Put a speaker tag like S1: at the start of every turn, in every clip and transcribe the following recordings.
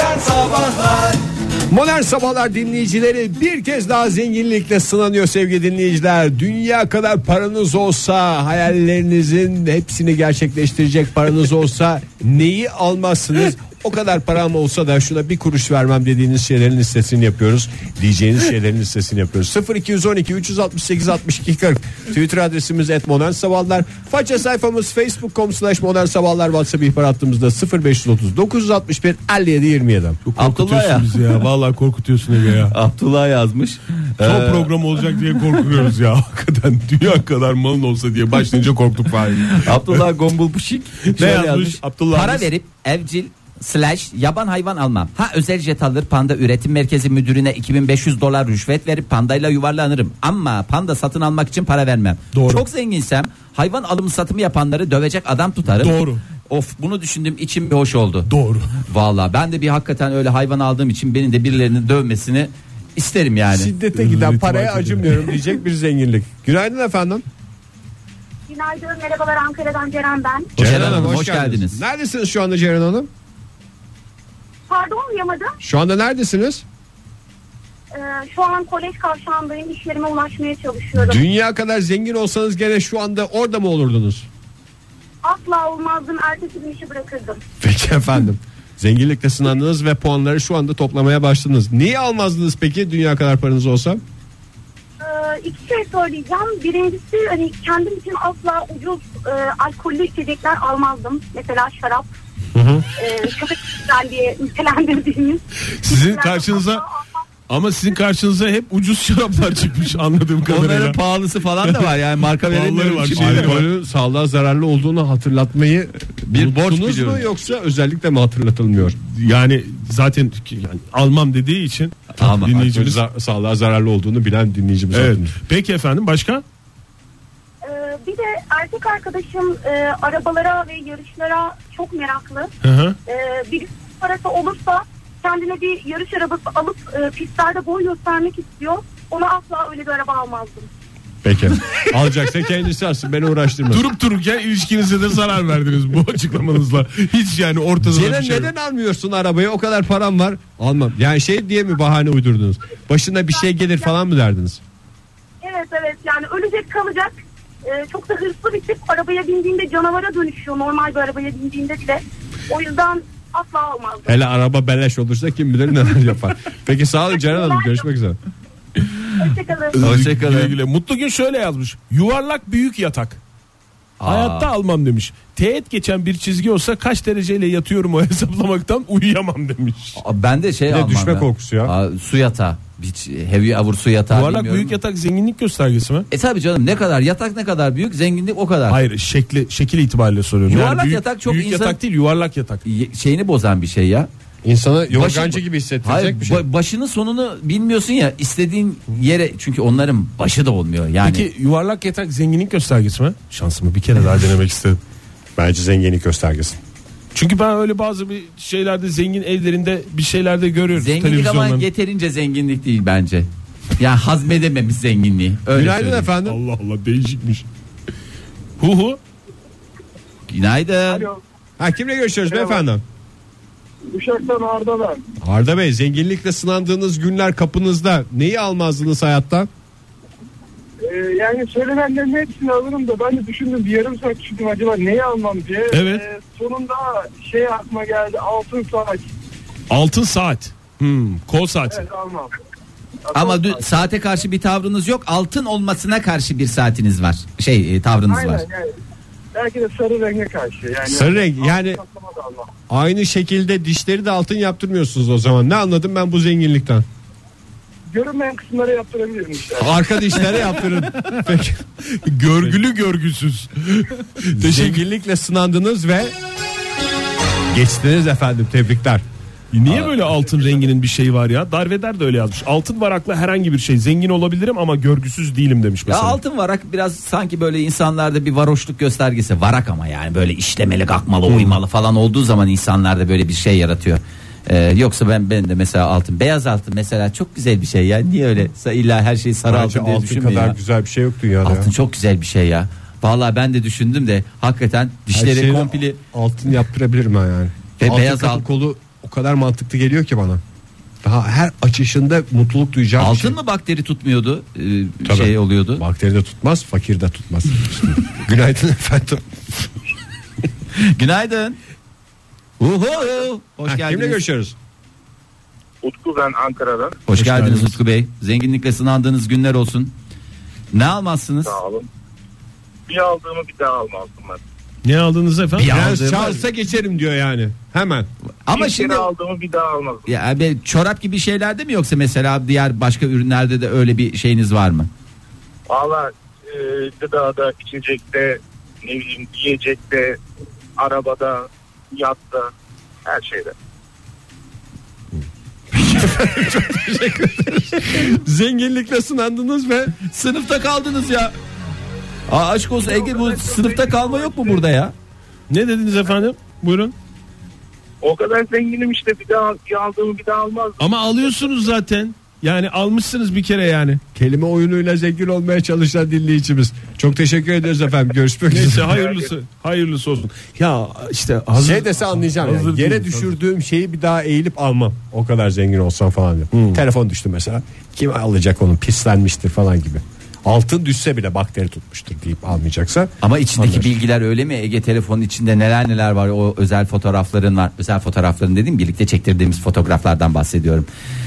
S1: Sabahlar
S2: Modern Sabahlar dinleyicileri bir kez daha zenginlikle sınanıyor sevgili dinleyiciler. Dünya kadar paranız olsa hayallerinizin hepsini gerçekleştirecek paranız olsa neyi almazsınız? O kadar param olsa da şuna bir kuruş vermem dediğiniz şeylerin listesini yapıyoruz. Diyeceğiniz şeylerin listesini yapıyoruz. 0212 368 62 40 Twitter adresimiz et modern sabahlar. Faça sayfamız facebook.com slash modern sabahlar. WhatsApp ihbar hattımızda 0530 961 57 27.
S3: Abdullah ya.
S4: Korkutuyorsun bizi ya. Vallahi korkutuyorsun Ege ya.
S3: Abdullah yazmış.
S4: Son
S3: Ee,
S4: program olacak diye korkuyoruz ya. Hakikaten dünya kadar malın olsa diye başlayınca korktuk Fahir.
S3: Abdullah Gombul Puşik şöyle
S4: yazmış?
S3: yazmış.
S4: Abdullah
S3: Para
S4: biz-
S3: verip evcil slash yaban hayvan almam. Ha özel jet alır panda üretim merkezi müdürüne 2500 dolar rüşvet verip pandayla yuvarlanırım. Ama panda satın almak için para vermem.
S4: Doğru.
S3: Çok zenginsem hayvan alımı satımı yapanları dövecek adam tutarım.
S4: Doğru.
S3: Of bunu düşündüm içim bir hoş oldu.
S4: Doğru.
S3: Valla ben de bir hakikaten öyle hayvan aldığım için benim de birilerinin dövmesini isterim yani.
S2: Şiddete
S4: Ürünü
S2: giden
S4: itibar
S2: paraya
S4: ediyorum.
S2: acımıyorum diyecek bir zenginlik. Günaydın efendim.
S5: Günaydın, merhabalar Ankara'dan Ceren ben.
S3: Ceren Hanım, hoş geldiniz.
S2: Neredesiniz şu anda Ceren Hanım?
S5: Pardon uyamadım.
S2: Şu anda neredesiniz?
S5: Ee, şu an kolej kavşağındayım, işlerime ulaşmaya çalışıyorum.
S2: Dünya kadar zengin olsanız gene şu anda orada mı olurdunuz?
S5: Asla olmazdım, ertesi gün işi bırakırdım.
S2: Peki efendim. Zenginlikle sınandınız ve puanları şu anda toplamaya başladınız. Niye almazdınız peki dünya kadar paranız olsa?
S5: Ee, iki şey söyleyeceğim. Birincisi hani kendim için asla ucuz e, alkollü içecekler almazdım. Mesela şarap. Ee, Çok güzel diye nitelendirdiğimiz.
S4: Sizin karşınıza ama sizin karşınıza hep ucuz şaraplar çıkmış anladığım kadarıyla.
S3: Onların pahalısı falan da var yani marka
S4: Vallahi
S3: veremiyorum
S4: var,
S3: şimdi.
S4: şey-
S2: Alkolün sağlığa zararlı olduğunu hatırlatmayı bir borç mu
S3: biliyorum.
S2: yoksa özellikle mi hatırlatılmıyor?
S4: Yani zaten yani almam dediği için
S3: Almam.
S4: dinleyicimiz.
S2: Alkolün za- sağlığa zararlı olduğunu bilen dinleyicimiz.
S4: Evet.
S2: hakkında.
S4: Peki efendim başka?
S5: Ee, bir de erkek arkadaşım e, arabalara ve yarışlara çok meraklı.
S4: Hı hı.
S5: Ee, bir parası olursa kendine bir yarış arabası alıp e, pistlerde boy göstermek istiyor. Ona asla öyle bir araba almazdım.
S2: Peki. Alacaksa kendisi alsın beni uğraştırmasın.
S4: Durup dururken ilişkinize de zarar verdiniz bu açıklamanızla. Hiç yani ortada da
S2: Ceren
S4: bir şey yok.
S2: neden almıyorsun arabayı? O kadar param var. Almam. Yani şey diye mi bahane uydurdunuz? Başına bir şey gelir falan mı derdiniz?
S5: Evet evet yani ölecek kalacak. Ee, çok da hırslı bir tip arabaya bindiğinde canavara dönüşüyor normal bir arabaya bindiğinde bile. O yüzden asla almazdım.
S2: Hele araba beleş olursa kim bilir neler yapar. Peki sağ olun Ceren Hanım. Görüşmek üzere.
S5: Hoşçakalın.
S3: Hoşçakalın.
S4: Güle güle. Mutlu gün şöyle yazmış. Yuvarlak büyük yatak. Hayatta almam demiş. Teğet geçen bir çizgi olsa kaç dereceyle yatıyorum o hesaplamaktan uyuyamam demiş.
S3: Aa, Ben de şey
S2: de
S3: almam
S2: düşme
S3: ben.
S2: korkusu ya.
S3: Aa, su yatağı. Hiç heavy avur su yatağı
S4: Yuvarlak
S3: bilmiyorum.
S4: büyük yatak zenginlik göstergesi mi?
S3: E tabi canım ne kadar yatak ne kadar büyük zenginlik o kadar.
S4: Hayır şekli şekil itibariyle soruyorum.
S3: Yuvarlak yatak çok
S4: büyük
S3: insan-
S4: yatak değil yuvarlak yatak.
S3: Ye- Şeyini bozan bir şey ya.
S2: İnsana
S3: Başı-
S2: yorgancı gibi hissettirecek
S3: Hayır,
S2: bir şey.
S3: ba- başını sonunu bilmiyorsun ya istediğin yere çünkü onların başı da olmuyor yani.
S4: Peki yuvarlak yatak zenginlik göstergesi mi? Şansımı bir kere daha denemek istedim.
S2: Bence zenginlik göstergesi.
S4: Çünkü ben öyle bazı bir şeylerde zengin evlerinde bir şeylerde görüyorum
S3: zenginlik ama
S4: televizyonlarda.
S3: yeterince zenginlik değil bence. Yani hazmedememiş zenginliği. Öyle
S2: Günaydın
S3: söyleyeyim.
S2: efendim.
S4: Allah Allah değişikmiş. Hu hu.
S3: Günaydın.
S6: Alo,
S2: Ha kimle görüşüyoruz beyefendi?
S6: Uşak'tan Arda ben.
S2: Arda Bey zenginlikle sınandığınız günler kapınızda neyi almazdınız hayatta?
S6: Ee, yani söylenenlerin hepsini alırım da ben de düşündüm bir yarım saat düşündüm acaba neyi almam diye.
S4: Evet.
S6: Ee, sonunda şey aklıma geldi altın saat.
S4: Altın saat. Hmm, kol saati.
S6: Evet almam.
S3: Ama dü- saate karşı bir tavrınız yok. Altın olmasına karşı bir saatiniz var. Şey e, tavrınız
S6: Aynen
S3: var.
S6: yani. Belki de sarı renge karşı. Yani
S2: Sarı renk, yani-
S6: Altın saklama da almam.
S2: Aynı şekilde dişleri de altın yaptırmıyorsunuz o zaman. Ne anladım ben bu zenginlikten?
S6: Görünmeyen kısımlara yaptırabilirim işte.
S2: Arka dişlere yaptırın. Peki.
S4: Görgülü görgüsüz.
S2: Zenginlikle sınandınız ve geçtiniz efendim tebrikler.
S4: Niye böyle altın renginin bir şeyi var ya? Darveder de öyle yazmış. Altın varaklı herhangi bir şey. Zengin olabilirim ama görgüsüz değilim demiş
S3: Ya
S4: mesela.
S3: altın varak biraz sanki böyle insanlarda bir varoşluk göstergesi. Varak ama yani böyle işlemeli, kalkmalı, uymalı falan olduğu zaman insanlarda böyle bir şey yaratıyor. Ee, yoksa ben ben de mesela altın, beyaz altın mesela çok güzel bir şey ya. Niye öyle sa- illa her şeyi sarı
S2: Bence
S3: altın diye
S2: altın
S3: düşünmüyor
S2: kadar
S3: ya.
S2: güzel bir şey yok dünyada. ya.
S3: Altın çok güzel bir şey ya. Vallahi ben de düşündüm de hakikaten
S2: Her şey
S3: dişleri
S2: şeyi
S3: komple
S2: altın yaptırabilirim ha yani.
S3: Ve
S2: altın
S3: beyaz
S2: kapı
S3: alt-
S2: kolu o kadar mantıklı geliyor ki bana. Daha her açışında mutluluk duyacağım bir
S3: Altın
S2: şey.
S3: mı bakteri tutmuyordu?
S4: e,
S3: Ee,
S2: Tabii.
S3: Şey oluyordu.
S2: Bakteri de tutmaz, fakir de tutmaz. Günaydın efendim.
S3: Günaydın. Uhu. Hoş
S2: Ha, Kimle
S3: geldiniz.
S2: görüşüyoruz?
S1: Utku ben Ankara'dan.
S3: Hoş,
S4: Hoş
S3: geldiniz
S4: geldiniz.
S3: Utku Bey. Zenginlikle sınandığınız günler olsun. Ne almazsınız?
S1: Sağ olun. Bir aldığımı bir daha almazdım ben.
S4: Ne aldınız efendim?
S3: Ya-
S2: Prens
S3: Aldığım-
S2: Charles'a geçerim diyor yani. Hemen.
S3: Ama
S1: bir
S3: şimdi
S1: kere aldığımı bir daha almazdım.
S3: ya abi, çorap gibi şeylerde mi yoksa mesela diğer başka ürünlerde de öyle bir şeyiniz var mı?
S1: Valla e, gıdada, içecekte, ne bileyim yiyecekte, arabada, yatta, her şeyde.
S2: Zenginlikle sınandınız ve
S3: Sınıfta kaldınız ya. Aa, aşk olsun Ege bu sınıfta kalma yok mu burada ya?
S4: Ne dediniz efendim? Buyurun.
S1: O kadar zenginim işte bir daha bir aldığımı bir daha almazdım.
S4: Ama alıyorsunuz zaten. Yani almışsınız bir kere yani.
S2: kelime oyunuyla zengin olmaya çalışan dinleyicimiz. Çok teşekkür ederiz efendim. Görüşmek
S4: Neyse
S2: üzere.
S4: hayırlısı. Hayırlısı olsun. Ya işte hazır.
S2: Şey dese anlayacağım. yani.
S4: Hazır
S2: Yere
S4: değiliz,
S2: düşürdüğüm şeyi bir daha eğilip almam. O kadar zengin olsam falan diyor.
S4: Hmm.
S2: Telefon düştü mesela. Kim alacak onu pislenmiştir falan gibi. Altın düşse bile bakteri tutmuştur deyip almayacaksa.
S3: Ama içindeki
S2: Anlarım.
S3: bilgiler öyle mi? Ege telefonun içinde neler neler var? O özel fotoğrafların var. Özel fotoğrafların dedim birlikte çektirdiğimiz fotoğraflardan bahsediyorum.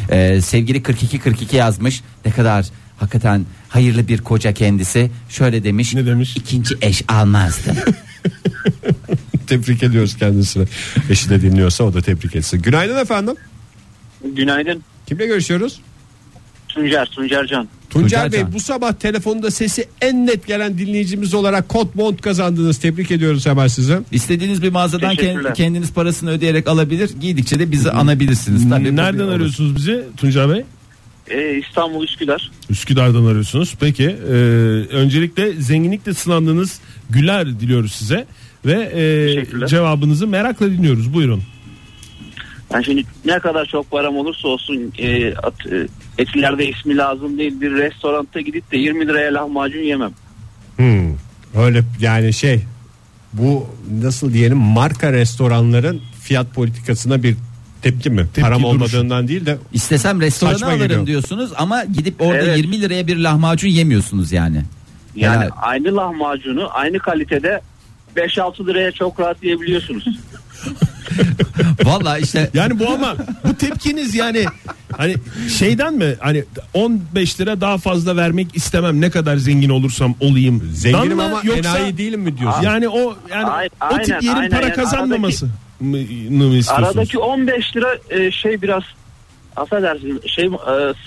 S3: Ee, sevgili 42 42 yazmış. Ne kadar hakikaten hayırlı bir koca kendisi. Şöyle demiş.
S4: Ne demiş?
S3: İkinci eş almazdım.
S2: Tebrik ediyoruz kendisini. Eşi de dinliyorsa o da tebrik etsin. Günaydın efendim.
S7: Günaydın.
S2: Kimle görüşüyoruz?
S7: Tuncer, Tuncercan.
S2: Tuncer
S3: Tuncer
S2: Bey
S3: Can.
S2: bu sabah telefonda sesi en net gelen dinleyicimiz olarak kot mont kazandınız. Tebrik ediyoruz hemen size.
S3: İstediğiniz bir mağazadan
S7: Teşekkürler.
S3: kend- kendiniz parasını ödeyerek alabilir. Giydikçe de bizi anabilirsiniz. Tabii bu bir-
S4: Nereden arıyorsunuz bizi Tuncay Bey?
S7: Ee, İstanbul Üsküdar.
S4: Üsküdar'dan arıyorsunuz. Peki e, öncelikle zenginlikle sınandığınız güler diliyoruz size. Ve e,
S7: Teşekkürler.
S4: cevabınızı merakla dinliyoruz. Buyurun.
S7: Yani şimdi ne kadar çok param olursa olsun e, at, e, etilerde ismi lazım değil. Bir restoranta gidip de 20 liraya lahmacun yemem.
S2: Hmm. Öyle yani şey bu nasıl diyelim marka restoranların fiyat politikasına bir tepki mi? Param
S4: duruş.
S2: olmadığından değil de
S3: İstesem restorana
S2: Saçma
S3: alırım
S2: geliyor.
S3: diyorsunuz ama gidip orada
S7: Evet.
S3: 20 liraya bir lahmacun yemiyorsunuz yani.
S7: Yani
S3: Helal.
S7: aynı lahmacunu aynı kalitede 5-6 liraya çok rahat yiyebiliyorsunuz.
S3: Vallahi işte
S4: Yani bu ama bu tepkiniz yani hani şeyden mi hani 15 lira daha fazla vermek istemem ne kadar zengin olursam olayım. Dan
S2: zenginim
S4: mı
S2: ama enayi değilim mi diyorsun?
S4: Yani o yani
S7: Ay-
S4: o
S7: aynen,
S4: tip yerin
S7: aynen.
S4: para
S7: Yani
S4: kazanmaması mı, mı istiyorsunuz?
S7: Aradaki 15 lira e, şey biraz affedersin şey e,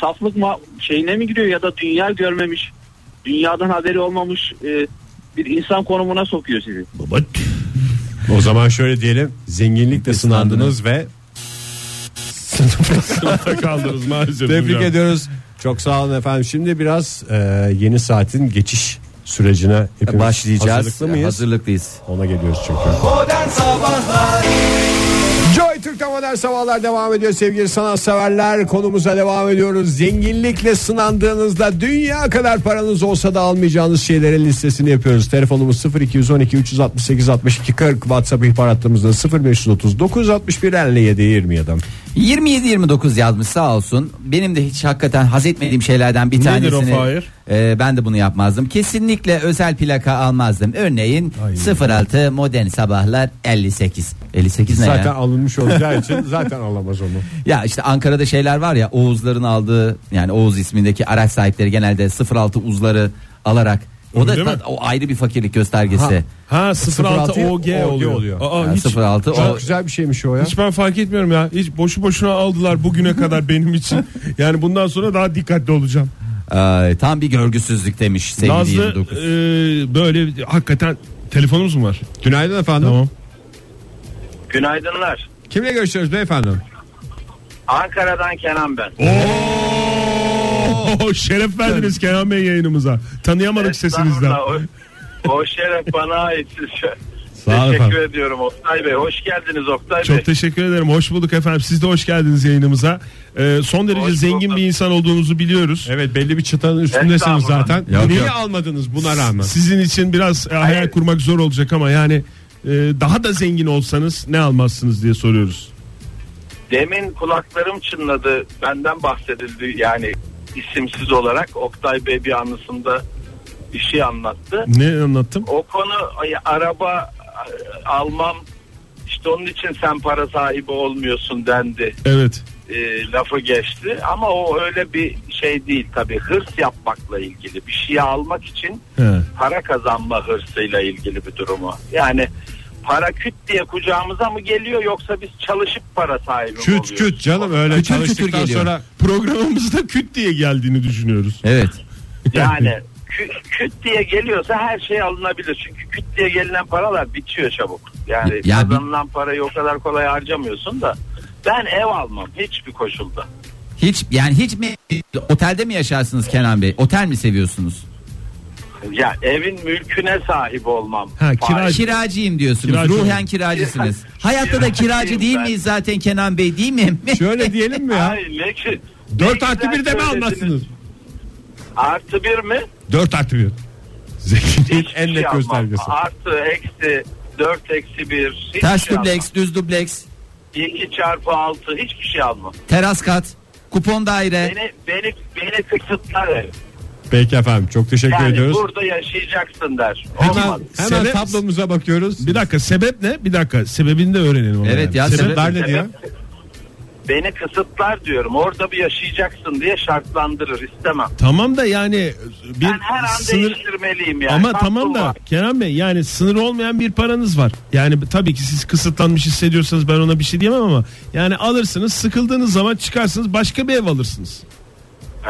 S7: saflık ma- şeyine mi giriyor ya da dünya görmemiş dünyadan haberi olmamış e, bir insan konumuna sokuyor sizi.
S4: Baba, tüh.
S2: O zaman şöyle diyelim zenginlikle sınandınız ve
S4: Sınıfta kaldınız maalesef.
S2: tebrik
S4: hocam.
S2: ediyoruz. Çok sağ olun efendim. Şimdi biraz e, yeni saatin geçiş sürecine hepimiz
S3: başlayacağız.
S2: Hazırlıklı mıyız?
S3: Hazırlıklıyız.
S2: Ona geliyoruz çünkü. Joy Türk'te modern sabahlar devam ediyor sevgili sanatseverler. Konumuza devam ediyoruz. Zenginlikle sınandığınızda dünya kadar paranız olsa da almayacağınız şeylerin listesini yapıyoruz. Telefonumuz 0212 368 62 40 WhatsApp ihbar hattımızda 0530 961 57 27.
S3: 27-29 yazmış sağ olsun. Benim de hiç hakikaten haz etmediğim şeylerden bir
S4: Nedir o
S3: tanesini.
S4: Fahir?
S3: e, ben de bunu yapmazdım. Kesinlikle özel plaka almazdım. Örneğin 06 modern sabahlar 58. 58 ne
S2: Zaten
S3: ya?
S2: alınmış olacağı için zaten alamaz onu.
S3: Ya işte Ankara'da şeyler var ya Oğuzların aldığı yani Oğuz ismindeki araç sahipleri genelde 06 uzları alarak o da
S4: Öyle mi?
S3: ta- o ayrı bir fakirlik göstergesi.
S4: Ha 06
S2: 06
S4: OG oluyor.
S2: oluyor.
S4: Aa,
S3: Yani
S4: hiç,
S3: 06 o
S2: Çok güzel bir şeymiş o ya.
S4: hiç ben fark etmiyorum ya. Hiç boşu boşuna aldılar bugüne kadar benim için. Yani bundan sonra daha dikkatli olacağım.
S3: Ay, tam bir görgüsüzlük demiş sevgili
S4: Nazlı
S3: 29.
S4: e, böyle hakikaten telefonumuz mu var?
S2: Günaydın efendim.
S4: Tamam.
S1: Günaydınlar.
S2: Kimle görüşüyoruz beyefendi?
S1: Ankara'dan Kenan ben.
S4: Oo, şeref verdiniz Kenan Bey yayınımıza. Tanıyamadık sesinizden.
S1: Estağfurullah, O, o şeref bana ait.
S4: olun
S1: Teşekkür
S4: efendim.
S1: ediyorum Oktay Bey. Hoş geldiniz Oktay Bey.
S4: Çok teşekkür ederim. Hoş bulduk efendim. Siz de hoş geldiniz yayınımıza. E, son derece
S1: Hoş
S4: zengin
S1: bulduk.
S4: bir insan olduğunuzu biliyoruz.
S2: Evet belli bir çıtanın üstündesiniz
S1: Estağfurullah.
S2: zaten.
S3: Yok,
S2: Niye
S3: yok.
S2: almadınız buna rağmen?
S4: Sizin için biraz e, hayal kurmak zor olacak ama yani e, daha da zengin olsanız ne almazsınız diye soruyoruz.
S1: Demin kulaklarım çınladı. Benden bahsedildi yani isimsiz olarak. Oktay Bey bir anısında bir şey anlattı.
S4: Ne anlattım?
S1: O konu ay, araba e, almam işte onun için sen para sahibi olmuyorsun dendi.
S4: Evet.
S1: e, lafı geçti ama o öyle bir şey değil tabi hırs yapmakla ilgili bir şey almak için
S4: He.
S1: para kazanma hırsıyla ilgili bir durumu yani para küt diye kucağımıza mı geliyor yoksa biz çalışıp para sahibi mi
S2: Küt
S1: oluyoruz?
S2: küt canım öyle
S3: Kütür kütür
S2: çalıştıktan
S3: geliyor.
S2: sonra
S4: Programımızda küt diye geldiğini düşünüyoruz.
S3: Evet.
S1: yani kü- küt diye geliyorsa her şey alınabilir çünkü küt diye gelinen paralar bitiyor çabuk yani
S3: Ya bi-
S1: kazanılan parayı o kadar kolay harcamıyorsun da ben ev almam hiçbir koşulda
S3: Hiç yani hiç mi otelde mi yaşarsınız Kenan Bey? Otel mi seviyorsunuz?
S1: ya evin mülküne sahip olmam
S4: Ha, kira- Kiracı.
S3: Kiracıyım diyorsunuz.
S4: Kiracı.
S3: Ruhen kiracısınız. Hayatta da kiracı
S1: Kiracıyım
S3: değil
S1: ben.
S3: miyiz zaten Kenan Bey değil mi?
S2: şöyle diyelim mi ya?
S1: Ay, ne ki-
S2: Dört
S1: ne
S2: artı
S1: güzel
S2: bir de mi
S1: söylediniz.
S2: almazsınız?
S1: Artı bir mi?
S2: 4 artı 1. Zekiliğin
S1: Hiçbir
S2: en
S1: şey
S2: net
S1: almam.
S2: göstergesi.
S1: Artı, eksi, dört eksi bir. hiçbir
S3: Ters
S1: şey almam.
S3: dubleks, düz dubleks,
S1: İki çarpı altı hiçbir şey almam.
S3: teras kat, kupon daire.
S1: Beni, beni, beni kısıtlar ev.
S2: Peki efendim çok teşekkür
S1: Yani
S2: ediyoruz.
S1: burada yaşayacaksın der. Olmaz.
S2: Hemen, hemen
S4: Sebep-
S2: tablomuza bakıyoruz.
S4: Bir dakika sebep ne? Bir dakika sebebini de öğrenelim. ama
S3: Evet
S4: yani.
S3: ya,
S4: sebep,
S3: sebep-
S2: Sebepler ne
S1: Sebep-
S2: diyor?
S1: Beni kısıtlar diyorum. Orada bir yaşayacaksın diye şartlandırır. istemem.
S4: Tamam da yani bir
S1: ben her an
S4: sınır
S1: değiştirmeliyim yani.
S4: Ama
S1: Tam
S4: tamam da
S1: bulma.
S4: Kenan Bey yani sınır olmayan bir paranız var. Yani tabii ki siz kısıtlanmış hissediyorsanız ben ona bir şey diyemem ama yani alırsınız sıkıldığınız zaman çıkarsınız başka bir ev alırsınız.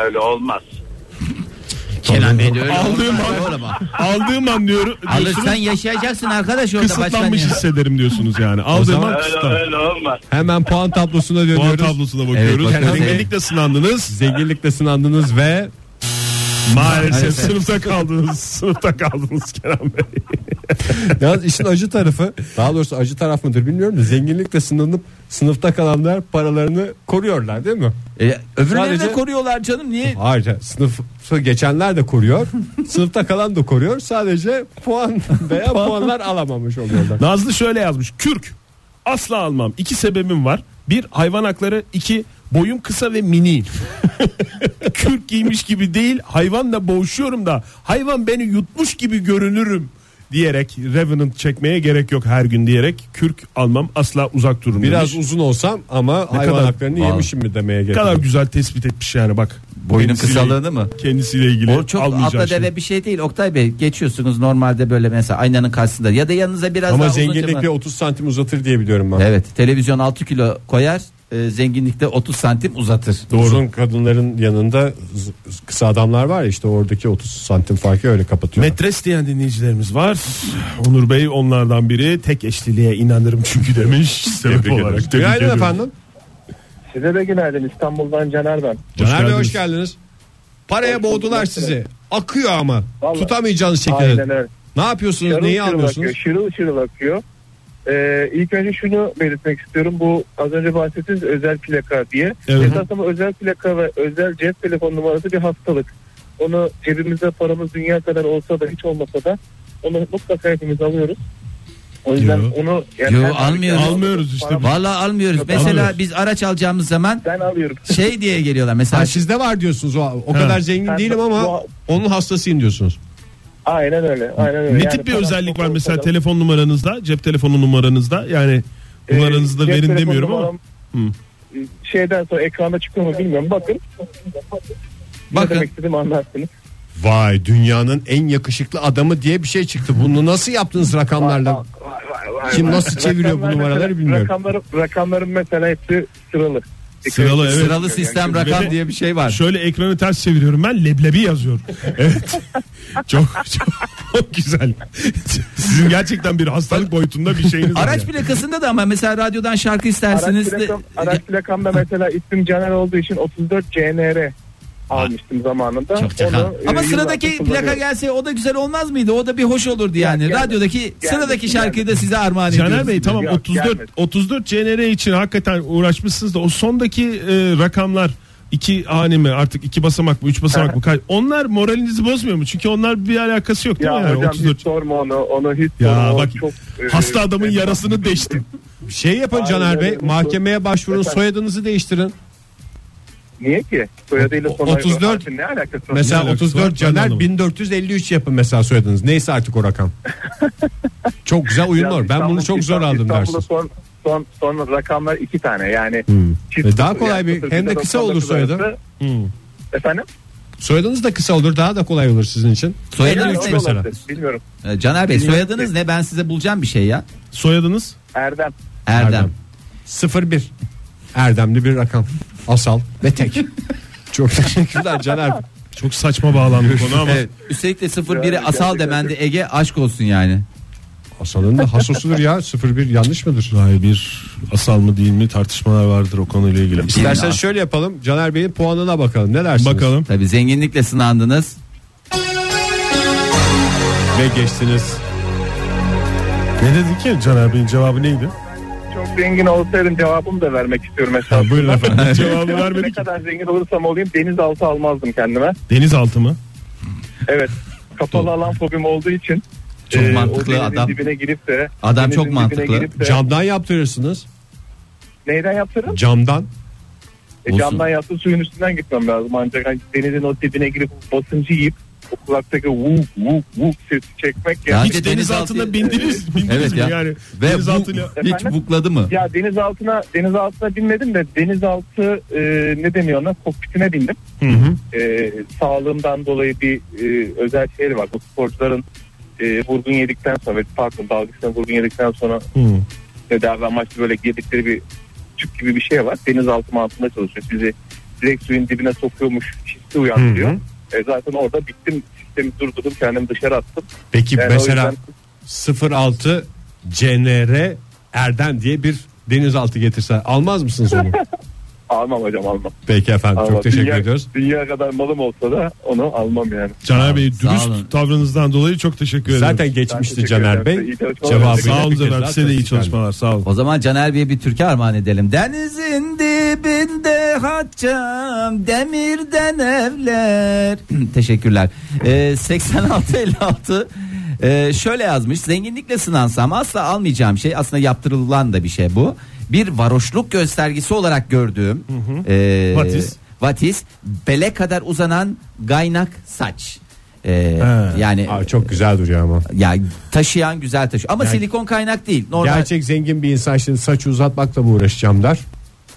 S1: Öyle olmaz.
S3: Kenan Bey de öyle
S4: Aldığım
S3: olmaz.
S4: an-
S3: Öyle ama.
S4: Aldığım an diyor,
S3: Alırsan
S4: diyorsunuz
S3: yaşayacaksın arkadaş orada başka
S4: kısıtlanmış
S3: ne?
S4: hissederim diyorsunuz yani. Aldığım
S2: zaman
S4: an
S1: Öyle,
S4: kısıtlanmış.
S1: öyle olmaz.
S2: Hemen puan tablosuna
S4: Puan
S2: dönüyoruz.
S4: tablosuna
S3: Evet,
S4: bakıyoruz.
S3: bakıyoruz.
S4: Kenan Bey'likle sınandınız.
S2: Zenginlikle sınandınız ve
S4: Maalesef
S3: Maalesef.
S4: sınıfta kaldınız. Sınıfta kaldınız Kenan Bey.
S2: yalnız işin acı tarafı daha doğrusu acı taraf mıdır bilmiyorum da zenginlikle sınanıp sınıfta kalanlar paralarını koruyorlar değil mi?
S3: E, öbürlerini
S2: Sadece-
S3: de koruyorlar canım niye?
S2: Ayrıca sınıfı geçenler de koruyor. sınıfta kalan da koruyor. Sadece puan veya puanlar alamamış oluyorlar.
S4: Nazlı şöyle yazmış. Kürk. Asla almam. İki sebebim var. Bir hayvan hakları. iki boyum kısa ve miniyim. Kürk giymiş gibi değil. Hayvanla boğuşuyorum da hayvan beni yutmuş gibi görünürüm diyerek Revenant çekmeye gerek yok her gün diyerek kürk almam asla uzak dururum
S2: Biraz
S4: demiş.
S2: uzun olsam ama hayvan
S4: kadar-
S2: haklarını
S3: Vallahi.
S2: yemişim mi demeye
S4: ne
S2: gerek.
S4: kadar
S2: yok.
S4: güzel tespit etmiş yani bak.
S3: Boyunun
S4: Kendisiyle-
S3: kısalığını mı?
S4: Kendisiyle ilgili
S3: O çok
S4: almayacağı
S3: atla
S4: şey.
S3: deve bir şey değil Oktay Bey. Geçiyorsunuz normalde böyle mesela aynanın karşısında ya da yanınıza biraz
S2: Ama
S3: daha uzunca
S2: zenginlikle
S3: mı-
S2: 30 santim uzatır diye biliyorum ben.
S3: Evet televizyon 6 kilo koyar e, zenginlikte 30 santim uzatır.
S2: Uzun kadınların yanında z- kısa adamlar var ya işte oradaki 30 santim farkı öyle kapatıyor.
S4: Metres diyen dinleyicilerimiz var. Onur Bey onlardan biri. Tek eşliliğe inanırım çünkü demiş. Sebep olarak tebrik
S2: Günaydın
S4: ediyorum.
S2: efendim.
S6: Size de günaydın İstanbul'dan Caner ben.
S2: Caner Bey
S4: geldiniz.
S2: hoş geldiniz. Paraya
S6: Hoş bulduk.
S2: boğdular sizi. Akıyor ama
S6: Vallahi.
S2: tutamayacağınız
S6: Aynen
S2: şekilde.
S6: öyle.
S2: Ne yapıyorsunuz?
S6: Şırıl
S2: Neyi
S6: şırıl
S2: anlıyorsunuz?
S6: akıyor, Şırıl şırıl akıyor. Ee, ilk önce şunu belirtmek istiyorum. Bu az önce bahsettiğiniz özel plaka diye.
S4: Evet.
S6: Esas ama özel plaka ve özel cep telefon numarası bir hastalık. Onu cebimizde paramız dünya kadar olsa da hiç olmasa da onu mutlaka hepimiz alıyoruz. O yüzden
S4: Yo.
S6: onu
S3: Yo,
S6: her-
S3: almıyoruz.
S4: Almıyoruz işte.
S6: Param-
S3: Vallahi almıyoruz.
S6: Yok,
S3: mesela
S4: almıyoruz.
S3: biz araç alacağımız zaman
S6: Ben alıyorum.
S3: şey diye geliyorlar. Mesela
S2: Ha, sizde var diyorsunuz. O, o kadar zengin
S6: Ben-
S2: değilim ama
S6: Bu-
S2: onun hastasıyım diyorsunuz.
S6: Aynen öyle. Aynen öyle.
S4: Ne
S6: Ee, Yani
S4: tip bir
S6: param
S4: özellik
S6: çok
S4: var
S6: olsa
S4: mesela
S6: da-
S4: telefon numaranızda, cep telefonu numaranızda? Yani numaranızı da
S6: Ee, cep
S4: verin
S6: telefon
S4: demiyorum ama.
S6: numaram, e, Şeyden sonra ekranda çıkıyor mu bilmiyorum. Bakın.
S3: Bakın.
S6: Ne demek istediğimi anlarsınız.
S2: Vay dünyanın en yakışıklı adamı diye bir şey çıktı. Bunu nasıl yaptınız rakamlarla? Kim nasıl çeviriyor bu
S6: Rakamlar
S2: numaraları
S6: mesela-
S2: bilmiyorum.
S6: Rakamları, rakamların mesela hepsi sıralı.
S4: Sıralı evet.
S3: sıralı sistem
S4: Yani
S3: rakam
S4: şöyle-
S3: diye bir şey var.
S4: Şöyle ekranı ters çeviriyorum ben leblebi yazıyorum. evet. çok, çok, çok güzel. Sizin gerçekten bir hastalık boyutunda bir şeyiniz var.
S3: Araç
S4: yani.
S3: plakasında da ama mesela radyodan şarkı
S6: Araç,
S3: istersiniz. de-
S6: plakam, araç plakamda mesela isim Caner olduğu için 34 CNR almıştım zamanında.
S3: Çok çakal.
S6: Onu, e,
S3: Ama
S6: yıllardır
S3: sıradaki plaka
S6: kullanıyorum.
S3: gelse o da güzel olmaz mıydı? O da bir hoş olurdu yani.
S6: Gel- gel-
S3: Radyodaki
S6: gel-
S3: sıradaki
S6: gel-
S3: şarkıyı da size armağan ediyoruz.
S4: Caner Bey tamam
S6: Yok,
S4: 34
S6: gelmedi.
S4: 34 CNR için hakikaten uğraşmışsınız da o sondaki e, rakamlar iki hane mi artık iki basamak mı üç basamak mı kaç onlar moralinizi bozmuyor mu? Çünkü onlar bir alakası yok değil
S6: Ya
S4: mi? Yani
S6: hocam
S4: 34.
S6: hiç sorma onu. Onu hiç
S4: Ya
S6: sorma. o
S4: bak
S6: çok, e,
S4: hasta adamın
S6: e,
S4: yarasını deştim.
S2: Şey yapın
S6: Aynen
S2: Caner Bey
S6: öyle.
S2: mahkemeye başvurun
S6: Efendim?
S2: soyadınız değiştirin.
S6: Niye ki? Soyadıyla
S2: O-
S6: son
S2: 34
S6: harfi ne alakası var?
S2: Mesela
S4: alakası var?
S2: 34
S4: Ben de
S2: Caner
S4: anlamadım.
S2: 1453 yapın mesela soyadınız. Neyse artık o rakam. çok güzel
S6: Ya
S2: uyumlu. Ben
S6: İstanbul-
S2: bunu çok zor
S6: İstanbul-
S2: aldım
S6: İstanbul'da
S2: dersin.
S6: Son, son, son rakamlar iki tane yani. Çift
S2: E, daha
S6: sıfır,
S2: kolay bir-
S6: sıfır
S2: hem de
S6: sıfır
S2: kısa
S6: doksan
S2: olur
S6: dokuz
S2: soyadı.
S6: arası. Efendim?
S2: Hmm. Soyadınız da kısa olur daha da kolay olur sizin için.
S3: Soyadınız
S2: Üç
S6: Yani
S3: ne?
S2: mesela.
S6: olabilir, Bilmiyorum.
S3: Ee, Caner Bey soyadınız ne? Ben size bulacağım bir şey ya.
S4: Soyadınız
S6: Erdem.
S3: Erdem.
S2: Erdem. 01 Erdemli bir rakam. Asal ve tek. çok teşekkürler Caner.
S4: çok saçma bağlandı konu ama
S3: Evet. Üstelik de 01'i
S6: Yani
S3: asal
S6: gerçekten
S3: demendi Ege aşk olsun yani.
S2: Asal'ın da hasosudur ya 01 yanlış mıdır?
S4: Hayır bir asal mı değil mi tartışmalar vardır o konuyla ilgili.
S2: İstersen
S3: Bilmiyorum.
S2: şöyle yapalım. Caner Bey'in puanına bakalım. Ne dersiniz?
S4: Bakalım.
S3: Tabii zenginlikle sınandınız.
S2: Ve geçtiniz.
S4: Ne dedi ki Caner Bey'in cevabı neydi?
S6: Çok zengin olsaydım cevabımı da vermek istiyorum mesela.
S4: Ha, buyurun efendim. cevabı
S6: ne
S4: vermedik.
S6: kadar zengin olursam olayım denizaltı almazdım kendime.
S4: Denizaltı mı?
S6: Evet. Kapalı alan fobim olduğu için
S3: Çok
S6: e,
S3: mantıklı
S6: o denizin
S3: adam.
S6: Dibine girip de
S3: Adam
S6: denizin
S3: çok
S6: dibine
S3: mantıklı.
S6: girip de-
S2: Camdan yaptırırsınız.
S6: neyden yaptırırım?
S2: Camdan.
S6: E, camdan yaptım suyun üstünden gitmem lazım ancak hani denizin o dibine girip basıncı yiyip o kulaktaki vuk vuk vuk sesi çekmek ya.
S3: Ya
S4: Hiç
S3: Bir de
S4: denizaltına
S3: denizaltı-
S4: bindiniz, bindiniz
S3: Evet
S4: mi
S3: ya.
S4: yani?
S3: Ve
S4: denizaltıyla
S3: bu- hiç
S6: Efendim?
S3: bukladı mı?
S6: Ya denizaltına denizaltına binmedim de denizaltı e, ne deniyor ona kokpitine bindim. E, sağlığımdan dolayı bir e, özel şey var. Bu sporcuların e, vurgun yedikten sonra pardon dalgısına vurgun yedikten sonra
S7: Hmm.
S4: Hı.
S6: tedavi amaçlı böyle girdikleri bir tüp gibi bir şey var. Denizaltı mantığında çalışıyor. Sizi direkt suyun dibine sokuyormuş hissi uyandırıyor.
S4: Hı
S6: E, zaten orada bittim. Sistemi durdurdum. Kendimi dışarı attım.
S2: Peki
S6: Yani o
S2: mesela
S6: yüzden
S2: 06 CNR Erdem diye bir denizaltı getirse almaz mısınız onu?
S6: almam hocam almam.
S2: Peki efendim
S6: almam.
S2: çok teşekkür
S6: dünya,
S2: ediyoruz.
S6: Dünya kadar malım olsa da onu almam yani.
S4: Caner Bey
S3: Sağ olun.
S4: dürüst tavrınızdan dolayı çok teşekkür ederim.
S2: Zaten geçmişti
S6: teşekkür
S2: Caner
S6: ederim.
S2: Bey.
S6: İyi çalışmalar.
S2: Cevabı
S4: sağ olun Caner. Size de iyi çalışmalar. Sağ olun.
S3: O zaman Caner Bey'e bir türkü armağan edelim. Denizin dibinde haçam demirden evler. Teşekkürler. Ee, 8656 ee, şöyle yazmış. Zenginlikle sınansam asla almayacağım şey aslında yaptırılan da bir şey bu. Bir varoşluk göstergesi olarak gördüğüm ee,
S4: Vatis.
S3: vatis bele kadar uzanan gaynak saç. Ee,
S4: He.
S3: yani
S2: Aa, çok güzel duruyor ama.
S3: ya taşıyan güzel taşıyor ama silikon kaynak değil. Normal
S2: Gerçek zengin bir insan şimdi saç uzatmakla mı uğraşacağım der.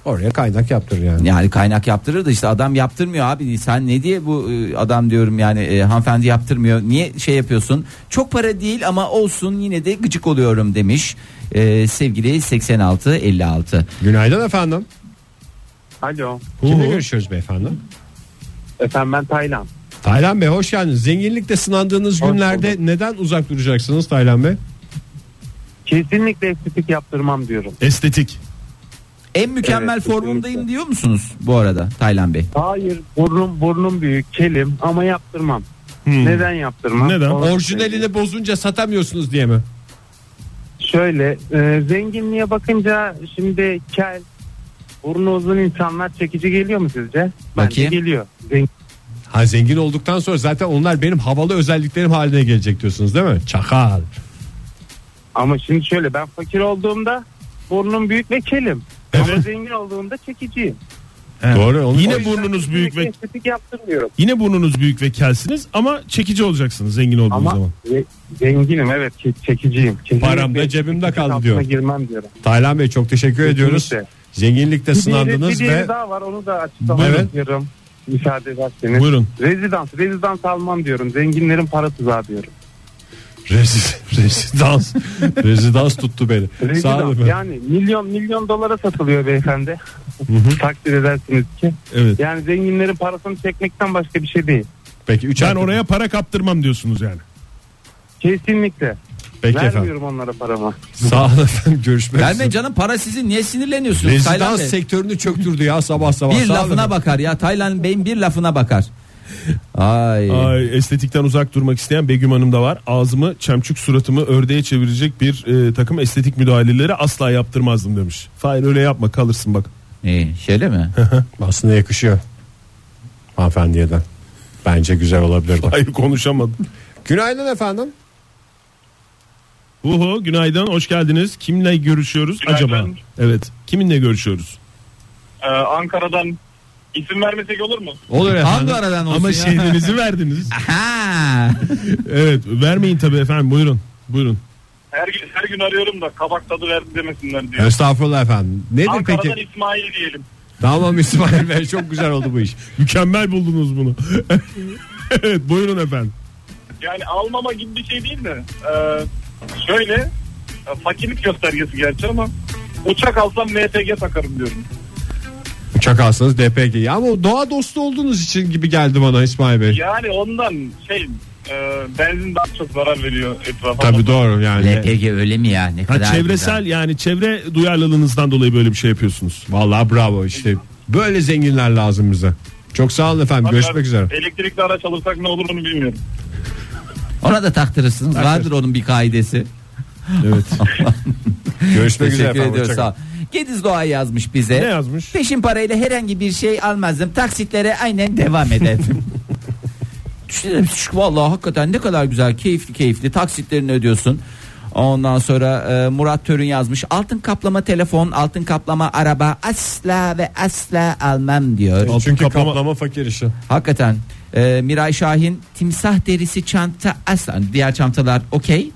S2: Oraya kaynak yaptırır yani.
S3: Yani kaynak yaptırır da işte adam yaptırmıyor abi. Sen ne diye bu e, adam diyorum yani e, hanımefendi yaptırmıyor. Niye şey yapıyorsun? Çok para değil ama olsun yine de gıcık oluyorum demiş. E, sevgili 86 56.
S2: Günaydın efendim.
S8: Alo.
S2: Kimle görüşüyoruz beyefendi?
S8: Efendim ben Taylan.
S2: Taylan Bey hoş geldiniz. Zenginlikle sınandığınız
S8: Hoş
S2: günlerde neden uzak duracaksınız Taylan Bey?
S8: Kesinlikle estetik yaptırmam diyorum.
S4: Estetik.
S3: En mükemmel
S8: Evet,
S3: formundayım diyor musunuz bu arada Taylan Bey?
S8: Hayır burnum burnum büyük kelim ama yaptırmam.
S2: Hmm.
S8: Neden yaptırmam?
S4: Neden?
S8: Onu söyleyeyim.
S2: Orijinalini bozunca satamıyorsunuz diye mi?
S8: Şöyle e, zenginliğe bakınca şimdi kel burnu uzun insanlar çekici geliyor mu sizce? Bence
S3: Bakayım.
S8: geliyor. Zengin.
S2: Ha zengin olduktan sonra zaten onlar benim havalı özelliklerim haline gelecek diyorsunuz değil mi? Çakal.
S8: Ama şimdi şöyle ben fakir olduğumda burnum büyük ve kelim. Ama zengin olduğumda çekiciyim.
S2: Doğru. Onu
S4: Yine
S8: O yüzden
S4: burnunuz büyük ve
S8: kesinlikle estetik yaptırmıyorum.
S4: yine burnunuz büyük ve kelsiniz ama çekici olacaksınız zengin olduğunuz
S8: Ama
S4: zaman.
S8: ze- zenginim evet ke- çekiciyim. Kesinlikle
S2: Param da cebimde
S8: estetik
S2: kaldı
S8: altına
S2: diyor.
S8: girmem diyorum.
S2: Taylan Bey çok teşekkür ediyoruz.
S8: Kesinlikle.
S2: Zenginlikte
S8: Bir diğeri-
S2: sınandınız
S8: bir diğeri
S2: ve
S8: daha var onu da açıklamak
S2: Buyurun.
S8: istiyorum. Müsaade ederseniz.
S4: Buyurun.
S8: Rezidans, rezidans almam diyorum. Zenginlerin para tuzağı diyorum.
S2: Rezi- rezidans rezidans tuttu beni. Sağ olun.
S8: Rezidans
S2: efendim.
S8: yani milyon milyon dolara satılıyor beyefendi. Takdir edersiniz ki.
S4: Evet.
S8: Yani zenginlerin parasını çekmekten başka bir şey değil.
S2: Peki 3
S4: Ben oraya para kaptırmam diyorsunuz yani.
S8: Kesinlikle.
S2: Peki efendim.
S8: Vermiyorum onlara paramı.
S2: Sağ olun efendim. Görüşmek
S3: Verme
S2: üzere.
S3: canım para sizin niye sinirleniyorsunuz Taylan
S2: Rezidans
S3: Bey?
S2: sektörünü çöktürdü ya sabah sabah.
S3: Bir
S2: Sağ olun
S3: lafına
S2: efendim.
S3: bakar ya Taylan Bey'in bir lafına bakar. Ay.
S4: Ay, estetikten uzak durmak isteyen Begüm Hanım da var. Ağzımı, çemçük suratımı ördeğe çevirecek bir e, takım estetik müdahaleleri asla yaptırmazdım demiş. Hayır öyle yapma kalırsın bak.
S3: İyi, şöyle mi?
S2: Aslında yakışıyor. Hanımefendiye de. Bence güzel olabilir.
S4: Hayır konuşamadım.
S2: Günaydın efendim.
S4: Uhu günaydın hoş geldiniz. Kimle görüşüyoruz
S6: Günaydın.
S4: acaba? Evet kiminle görüşüyoruz?
S6: Ee, Ankara'dan isim vermesek olur mu?
S2: Olur efendim.
S3: Ankara'dan olsun
S4: Ama
S3: ya.
S4: şehrinizi verdiniz.
S3: Ha.
S4: Evet vermeyin tabii efendim buyurun. Buyurun.
S6: Her gün, her gün arıyorum da kabak tadı verdi demesinler diye.
S2: Estağfurullah efendim. Nedir peki?
S6: Ankara'dan İsmail diyelim.
S2: Tamam İsmail Bey çok güzel oldu bu iş.
S4: Mükemmel buldunuz bunu. evet buyurun efendim.
S6: Yani almama gibi bir şey değil de e, şöyle e, fakirlik göstergesi gerçi ama uçak alsam MTG takarım diyorum.
S2: Uçak alsanız DPG. Ya ama doğa dostu olduğunuz için gibi geldi bana İsmail Bey.
S6: Yani ondan şey e, benzin daha çok zarar veriyor etrafa.
S2: Tabii doğru yani.
S3: LPG öyle mi ya? Ne
S4: Ha,
S3: kadar
S4: çevresel
S3: güzel.
S4: yani çevre duyarlılığınızdan dolayı böyle bir şey yapıyorsunuz.
S2: Vallahi bravo işte. Böyle zenginler lazım bize. Çok sağ olun efendim. Görüşmek üzere.
S6: Elektrikli araç alırsak ne olur onu bilmiyorum.
S3: Ona da taktırırsınız. Vardır onun bir kaidesi.
S2: Evet. Görüşmek üzere
S3: Teşekkür
S2: efendim.
S3: ediyoruz.
S2: Hoşça
S3: Sağ
S2: kalın.
S3: ol. Gediz Doğa yazmış bize.
S4: Ne yazmış?
S3: Peşin parayla herhangi bir şey almazdım. Taksitlere aynen devam ederdim. Düşünelim şu- vallahi hakikaten ne kadar güzel keyifli keyifli taksitlerini ödüyorsun. Ondan sonra e, Murat Törün yazmış altın kaplama telefon altın kaplama araba asla ve asla almam diyor.
S2: Çünkü
S4: kaplama-
S2: kaplama, fakir işi.
S3: Hakikaten e, Miray Şahin timsah derisi çanta asla diğer çantalar okey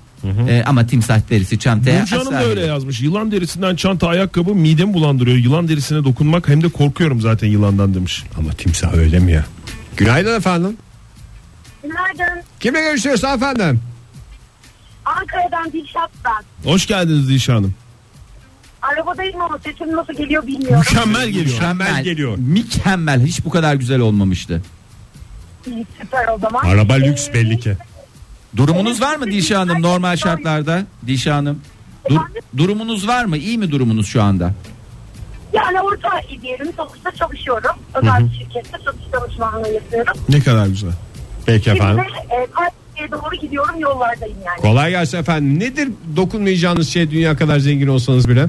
S3: E, ama timsah derisi çantaya
S4: Burcu Hanım
S3: asla
S4: da öyle yazmış. Yılan derisinden çanta ayakkabı midemi bulandırıyor. Yılan derisine dokunmak hem de korkuyorum zaten yılandan demiş.
S2: Ama timsah öyle mi ya? Günaydın efendim.
S5: Günaydın.
S2: Kimle görüşüyoruz efendim?
S5: Ankara'dan Dilşat ben.
S4: Hoş geldiniz Dişa Hanım.
S5: Arabadayım ama sesim nasıl geliyor bilmiyorum.
S4: Mükemmel geliyor.
S3: Mükemmel
S2: geliyor.
S3: Mükemmel. Hiç bu kadar güzel olmamıştı.
S5: İyi, Süper o zaman.
S2: Araba lüks
S5: Ee,
S2: belli ki.
S3: Durumunuz var mı Dişe Hanım normal şartlarda? Dişe Hanım. Dur-
S5: Efendim?
S3: durumunuz var mı? İyi mi durumunuz şu anda?
S5: Yani orta diyelim. Sonuçta çalışıyorum. Özel bir şirkette satış danışmanlığı yapıyorum.
S4: Ne kadar güzel.
S2: Peki efendim.
S5: Şimdi e, Kayseri'ye doğru gidiyorum yollardayım yani.
S2: Kolay gelsin efendim. Nedir dokunmayacağınız şey dünya kadar zengin olsanız bile?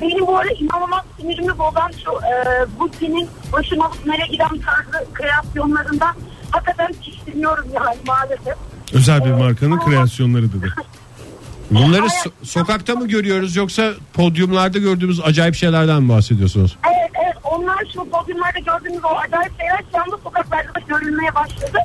S5: Benim bu ara inanılmaz sinirimi bozan şu e, Gucci'nin başıma nereye giden tarzı kreasyonlarından hakikaten tiksiniyorum yani maalesef.
S4: Özel bir markanın kreasyonları dedi.
S2: Bunları
S5: Evet.
S2: so- sokakta mı görüyoruz yoksa podyumlarda gördüğümüz acayip şeylerden mi bahsediyorsunuz?
S5: Evet evet onlar şu podyumlarda gördüğümüz o acayip şeyler şu anda sokaklarda da görülmeye başladı.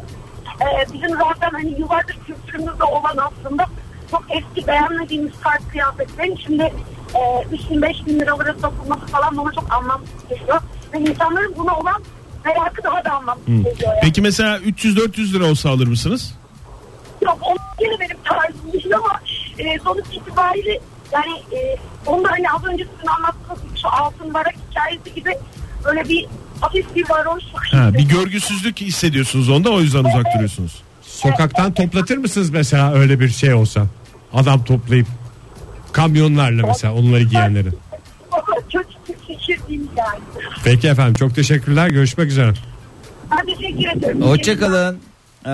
S5: E, bizim zaten hani yıllardır kültürümüzde olan aslında çok eski beğenmediğimiz tarz kıyafetlerin şimdi e, 3 bin 5 bin liralara satılması falan bana çok anlamsız geliyor. Ve insanların buna olan merakı daha da anlamsız geliyor. Yani.
S4: Peki mesela 300-400 lira olsa alır mısınız?
S5: Yok onun gene benim tarzım değil ama e, sonuç itibariyle yani e, onda hani az önce sizin anlattığınız şu altın varak hikayesi gibi böyle bir hafif bir varoşluk.
S4: Ha, bir
S5: hissi.
S4: görgüsüzlük hissediyorsunuz onda o yüzden uzak duruyorsunuz.
S2: Sokaktan toplatır mısınız mesela öyle bir şey olsa? Adam toplayıp kamyonlarla mesela onları giyenleri.
S5: Kötü bir fikir değil yani.
S2: Peki efendim çok teşekkürler. Görüşmek üzere.
S5: Ben
S9: şey
S5: teşekkür ederim.
S3: Hoşçakalın. Ee,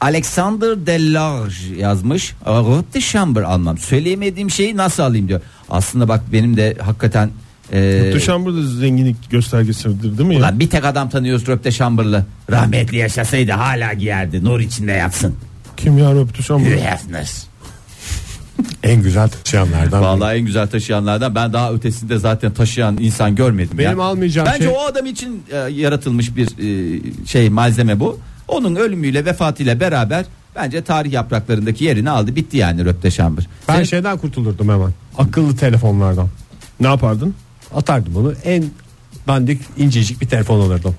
S3: Alexander Delarge yazmış. Rotte Chamber almam. Söyleyemediğim şeyi nasıl alayım diyor. Aslında bak benim de hakikaten e,
S4: Muhteşem burada zenginlik göstergesidir değil mi? Ya?
S3: Lan bir tek adam tanıyoruz Röpte Şambırlı. Rahmetli yaşasaydı hala giyerdi. Nur içinde yatsın.
S4: Kim ya Muhteşem burada?
S3: Hefner.
S2: En güzel taşıyanlardan.
S3: Vallahi en güzel taşıyanlardan ben daha ötesinde zaten taşıyan insan görmedim.
S2: Benim
S3: ya.
S2: almayacağım
S3: Bence
S2: şey-
S3: o adam için e, yaratılmış bir e, şey malzeme bu. Onun ölümüyle vefatıyla beraber bence tarih yapraklarındaki yerini aldı. Bitti yani Röpte Şambır.
S2: Ben
S3: Senin-
S2: şeyden kurtulurdum hemen. Akıllı telefonlardan.
S4: Ne yapardın?
S2: Atardım onu en dandik incecik bir telefon alırdım.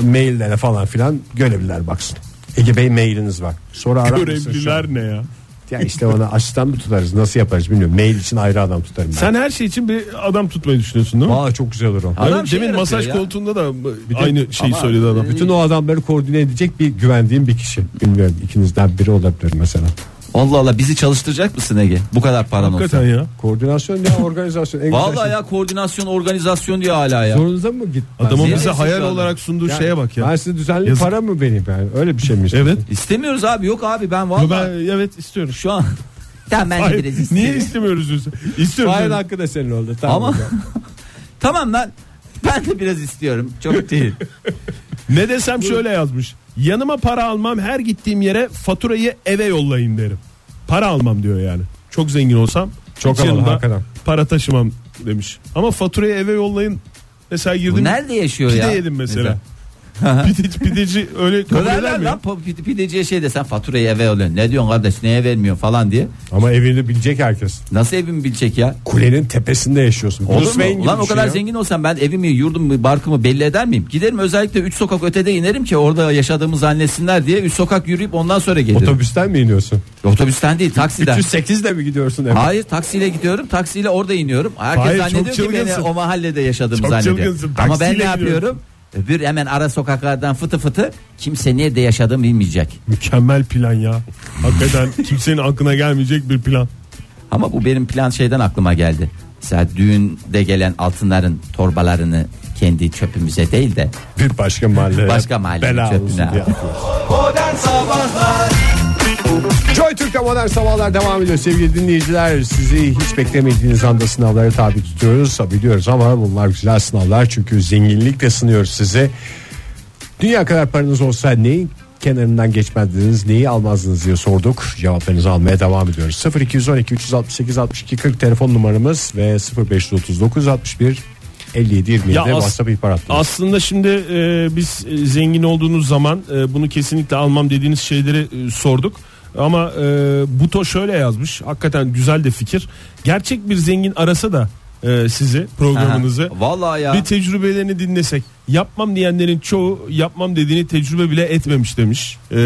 S2: E, Maillere falan filan görevliler baksın. Ege Bey mailiniz var. Sonra arar mısın şu an?
S4: Görevliler ne ya?
S2: Ya işte ona asistan mı tutarız nasıl yaparız bilmiyorum. Mail için ayrı adam tutarım ben.
S4: Sen her şey için bir adam tutmayı düşünüyorsun değil mi?
S2: Valla çok güzel olur o.
S3: Adam
S4: Adam
S3: şey
S4: demin
S3: yaratıyor
S4: masaj
S3: ya.
S4: koltuğunda da
S2: de-
S4: aynı şeyi
S3: Ama-
S4: söyledi adam.
S2: Bütün o adamları koordine edecek bir güvendiğim bir kişi. Bilmiyorum ikinizden biri olabilir mesela.
S3: Allah Allah bizi çalıştıracak mısın Ege? Bu kadar paran olsa.
S4: Hakikaten ya.
S2: Koordinasyon ya organizasyon. En güzel
S3: Vallahi
S2: şey.
S3: ya koordinasyon organizasyon diyor hala ya.
S2: Zorunuza mı git?
S4: Adamın
S3: Ziyadesiz
S4: bize hayal
S3: adam.
S4: olarak sunduğu
S2: Yani
S4: şeye bak ya.
S2: Ben size düzenli
S4: Yazık.
S2: para mı vereyim yani? Öyle bir şey mi?
S4: Evet.
S3: İstemiyoruz abi yok abi ben
S4: Yo,
S3: vallahi
S4: Ben evet istiyorum.
S3: şu an tamam ben de
S4: Hayır,
S3: biraz isteyeyim.
S4: niye istemiyoruz biz? İstiyoruz.
S2: Hayır
S4: yani.
S2: hakkı da senin oldu. Tamam.
S3: Ama tamam lan ben de biraz istiyorum. Çok değil.
S4: Ne desem şöyle yazmış. Yanıma para almam her gittiğim yere faturayı eve yollayın derim. Para almam diyor yani. Çok zengin olsam
S2: Çok
S4: hiç
S2: havalı,
S4: yanımda
S2: hakikaten.
S4: para taşımam demiş. Ama faturayı eve yollayın. Mesela girdim.
S3: Bu nerede yaşıyor
S4: pide
S3: ya?
S4: yedim mesela. pideci, pideci öyle kabul
S3: Öyle
S4: eder
S3: lan
S4: mi? ya?
S3: lan pa- pide- pideciye şey desen faturayı eve alıyorsun. Ne diyorsun kardeş neye vermiyorsun falan diye.
S2: Ama evini bilecek herkes.
S3: Nasıl evimi bilecek ya?
S2: Kulenin tepesinde yaşıyorsun.
S3: Olur
S2: Bruce
S3: mu?
S2: Wayne gibi
S3: Ulan o
S2: düşün
S3: kadar
S2: ya.
S3: zengin olsam ben evimi, yurdumu, barkımı belli eder miyim? Giderim özellikle 3 sokak ötede inerim ki orada yaşadığımı zannetsinler diye 3 sokak yürüyüp ondan sonra gelirim.
S2: Otobüsten mi iniyorsun?
S3: Otobüsten değil taksiden.
S2: 308 de mi gidiyorsun eve?
S3: Hayır taksiyle gidiyorum taksiyle orada iniyorum. Herkes
S4: Hayır, çok
S3: zannediyor ki beni
S4: çılgınsın.
S3: o mahallede yaşadığımı
S4: Çok
S3: zannediyor.
S4: çılgınsın,
S3: Ama ben ne
S4: taksiyle
S3: yapıyorum? Öbür hemen ara sokaklardan fıtı fıtı kimse nerede yaşadığımı bilmeyecek.
S4: Mükemmel plan ya. Hakikaten kimsenin aklına gelmeyecek bir plan.
S3: Ama bu benim plan şeyden aklıma geldi. Mesela düğünde gelen altınların torbalarını kendi çöpümüze değil de
S2: Bir başka mahalle.
S3: Başka mahallenin
S2: Bela
S3: çöpüne.
S2: olsun diye atıyorsun. Joy Türk'te modern sabahlar devam ediyor sevgili dinleyiciler. Sizi hiç beklemediğiniz anda sınavlara tabi tutuyoruz, biliyoruz ama bunlar güzel sınavlar çünkü zenginlikle sınıyoruz sizi. Dünya kadar paranız olsa neyin kenarından geçmediniz neyi almazdınız diye sorduk. Cevaplarınızı almaya devam ediyoruz. 0212 368 62 40 telefon numaramız ve 0539 61 57 27
S4: Ya as-
S2: WhatsApp ihbar hattımız.
S4: Aslında şimdi e, biz e, zengin olduğunuz zaman e, bunu kesinlikle almam dediğiniz şeyleri e, sorduk. Ama e, Buto şöyle yazmış. Hakikaten güzel de fikir. Gerçek bir zengin arasa da e, sizi programınızı
S3: Aha, Vallahi ya.
S4: bir tecrübelerini dinlesek. Yapmam diyenlerin çoğu yapmam dediğini tecrübe bile etmemiş demiş e,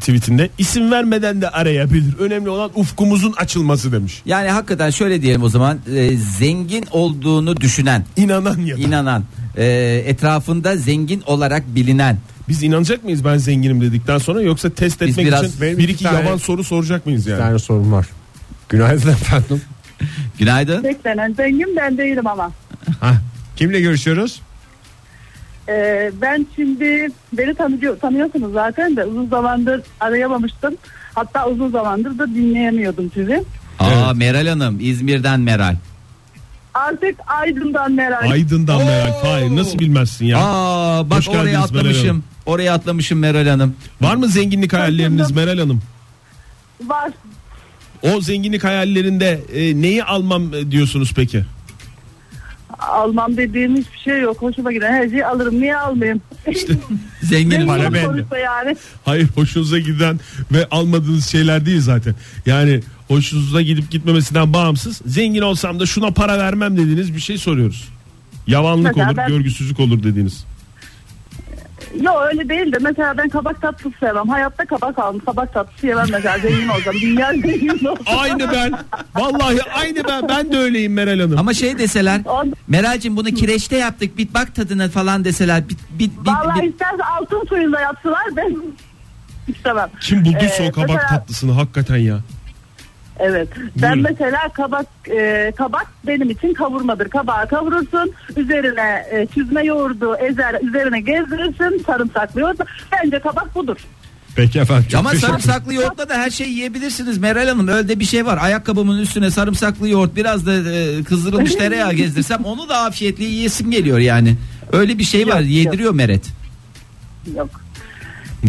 S4: tweetinde. İsim vermeden de arayabilir. Önemli olan ufkumuzun açılması demiş.
S3: Yani hakikaten şöyle diyelim o zaman e, zengin olduğunu düşünen,
S4: İnanan ya. da.
S3: inanan, e, etrafında zengin olarak bilinen.
S4: Biz inanacak mıyız ben zenginim dedikten sonra yoksa test
S3: Biz
S4: etmek
S3: biraz-
S4: için
S2: Benim
S4: bir
S2: iki
S4: iki
S2: tane-
S4: yaban soru soracak mıyız
S2: Bir
S4: yani?
S2: tane sorun var. Günaydın efendim.
S3: Günaydın.
S10: Beklenen zengin ben değilim ama.
S2: Hah, Kimle görüşüyoruz?
S10: Ee, ben şimdi beni tanıyor, tanıyorsunuz zaten de uzun zamandır arayamamıştım. Hatta uzun zamandır da dinleyemiyordum sizi.
S3: Aa Meral Hanım, İzmir'den Meral.
S10: Artık Aydın'dan merak.
S4: Aydın'dan merak. Hayır E, nasıl bilmezsin ya?
S3: Aa bak
S4: Hoş geldiniz
S3: oraya
S4: Meral
S3: atlamışım.
S4: Hanım.
S3: Oraya atlamışım Meral Hanım.
S4: Var mı zenginlik hayalleriniz
S10: Aydın'dan-
S4: Meral Hanım?
S10: Var.
S4: O zenginlik hayallerinde e, neyi almam e, diyorsunuz peki?
S10: Almam dediğim hiçbir şey yok. Hoşuma giden her şeyi alırım. Niye almayayım? İşte
S3: Zengin
S4: Para bende.
S10: sonuçta yani.
S4: Hayır hoşunuza giden ve almadığınız şeyler değil zaten. Yani hoşunuza gidip gitmemesinden bağımsız. Zengin olsam da şuna para vermem dediğiniz bir şey soruyoruz. Yavanlık
S10: Mesela
S4: olur,
S10: ben-
S4: görgüsüzlük olur dediğiniz.
S10: Yok öyle değil de mesela ben kabak tatlısı sevmem. Hayatta kabak aldım. Kabak tatlısı yemem mesela. Zengin olacağım. Dünya zengin olacağım.
S4: Aynı ben. Vallahi aynı ben. Ben de öyleyim Meral Hanım.
S3: Ama şey deseler
S10: Ondan-
S3: Meral'cim bunu kireçte yaptık bit bak tadına falan deseler bit bit bit,
S10: Vallahi
S3: bit-
S10: isterse altın suyunda yaptılar ben istemem.
S4: Kim bulduysa
S10: Ee,
S4: o kabak
S10: mesela-
S4: tatlısını hakikaten ya.
S10: Evet. Ben
S4: Buyurun.
S10: mesela kabak e, kabak benim için kavurmadır. Kabağı kavurursun, üzerine e, süzme yoğurdu ezer, üzerine gezdirirsin, sarımsaklı yoğurdu. Bence kabak budur.
S2: Peki efendim. çok
S3: Ama
S2: teşekkür-
S3: sarımsaklı yoğurtla da her şeyi yiyebilirsiniz Meral Hanım. Öyle bir şey var. Ayakkabımın üstüne sarımsaklı yoğurt biraz da e, kızdırılmış tereyağı gezdirsem onu da afiyetle yiyesim geliyor yani. Öyle bir şey var.
S10: Yok,
S3: Yediriyor Meret.
S10: Yok.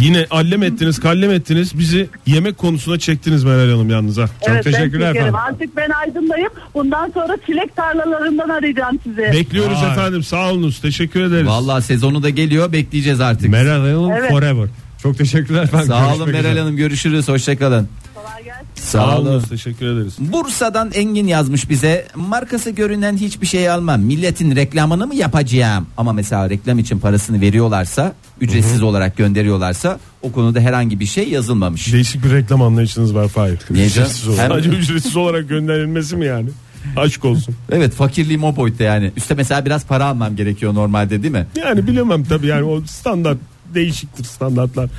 S4: Yine allem ettiniz, kallem ettiniz. Bizi yemek konusuna çektiniz Meral Hanım yalnız ha.
S10: evet, ben
S2: teşekkürler
S10: şekerim.
S2: efendim.
S10: Artık ben aydındayım. Bundan sonra çilek tarlalarından arayacağım sizi.
S4: Bekliyoruz
S2: Vay.
S4: efendim. Sağ olunuz. Teşekkür ederiz.
S3: Vallahi sezonu da geliyor. Bekleyeceğiz artık.
S2: Meral Hanım
S10: Evet.
S2: forever. Çok teşekkürler efendim.
S3: Sağ olun
S2: Görüşmek
S3: Meral
S2: üzere.
S3: Hanım. Görüşürüz. Hoşçakalın.
S10: Kolay gelsin.
S4: Sağ olunuz. Teşekkür ederiz.
S3: Bursa'dan Engin yazmış bize markası görünen hiçbir şey almam milletin reklamını mı yapacağım ama mesela reklam için parasını veriyorlarsa ücretsiz olarak gönderiyorlarsa o konuda herhangi bir şey yazılmamış.
S4: Değişik bir reklam anlayışınız var Fahir.
S3: Niye canım?
S4: Ücretsiz olarak.
S3: Hem-
S4: Sadece ücretsiz olarak gönderilmesi mi yani? Aşk olsun.
S3: Evet fakirliğim o boyutta yani üste mesela biraz para almam gerekiyor normalde değil mi?
S4: Yani bilemem tabii yani o standart değişiktir standartlar.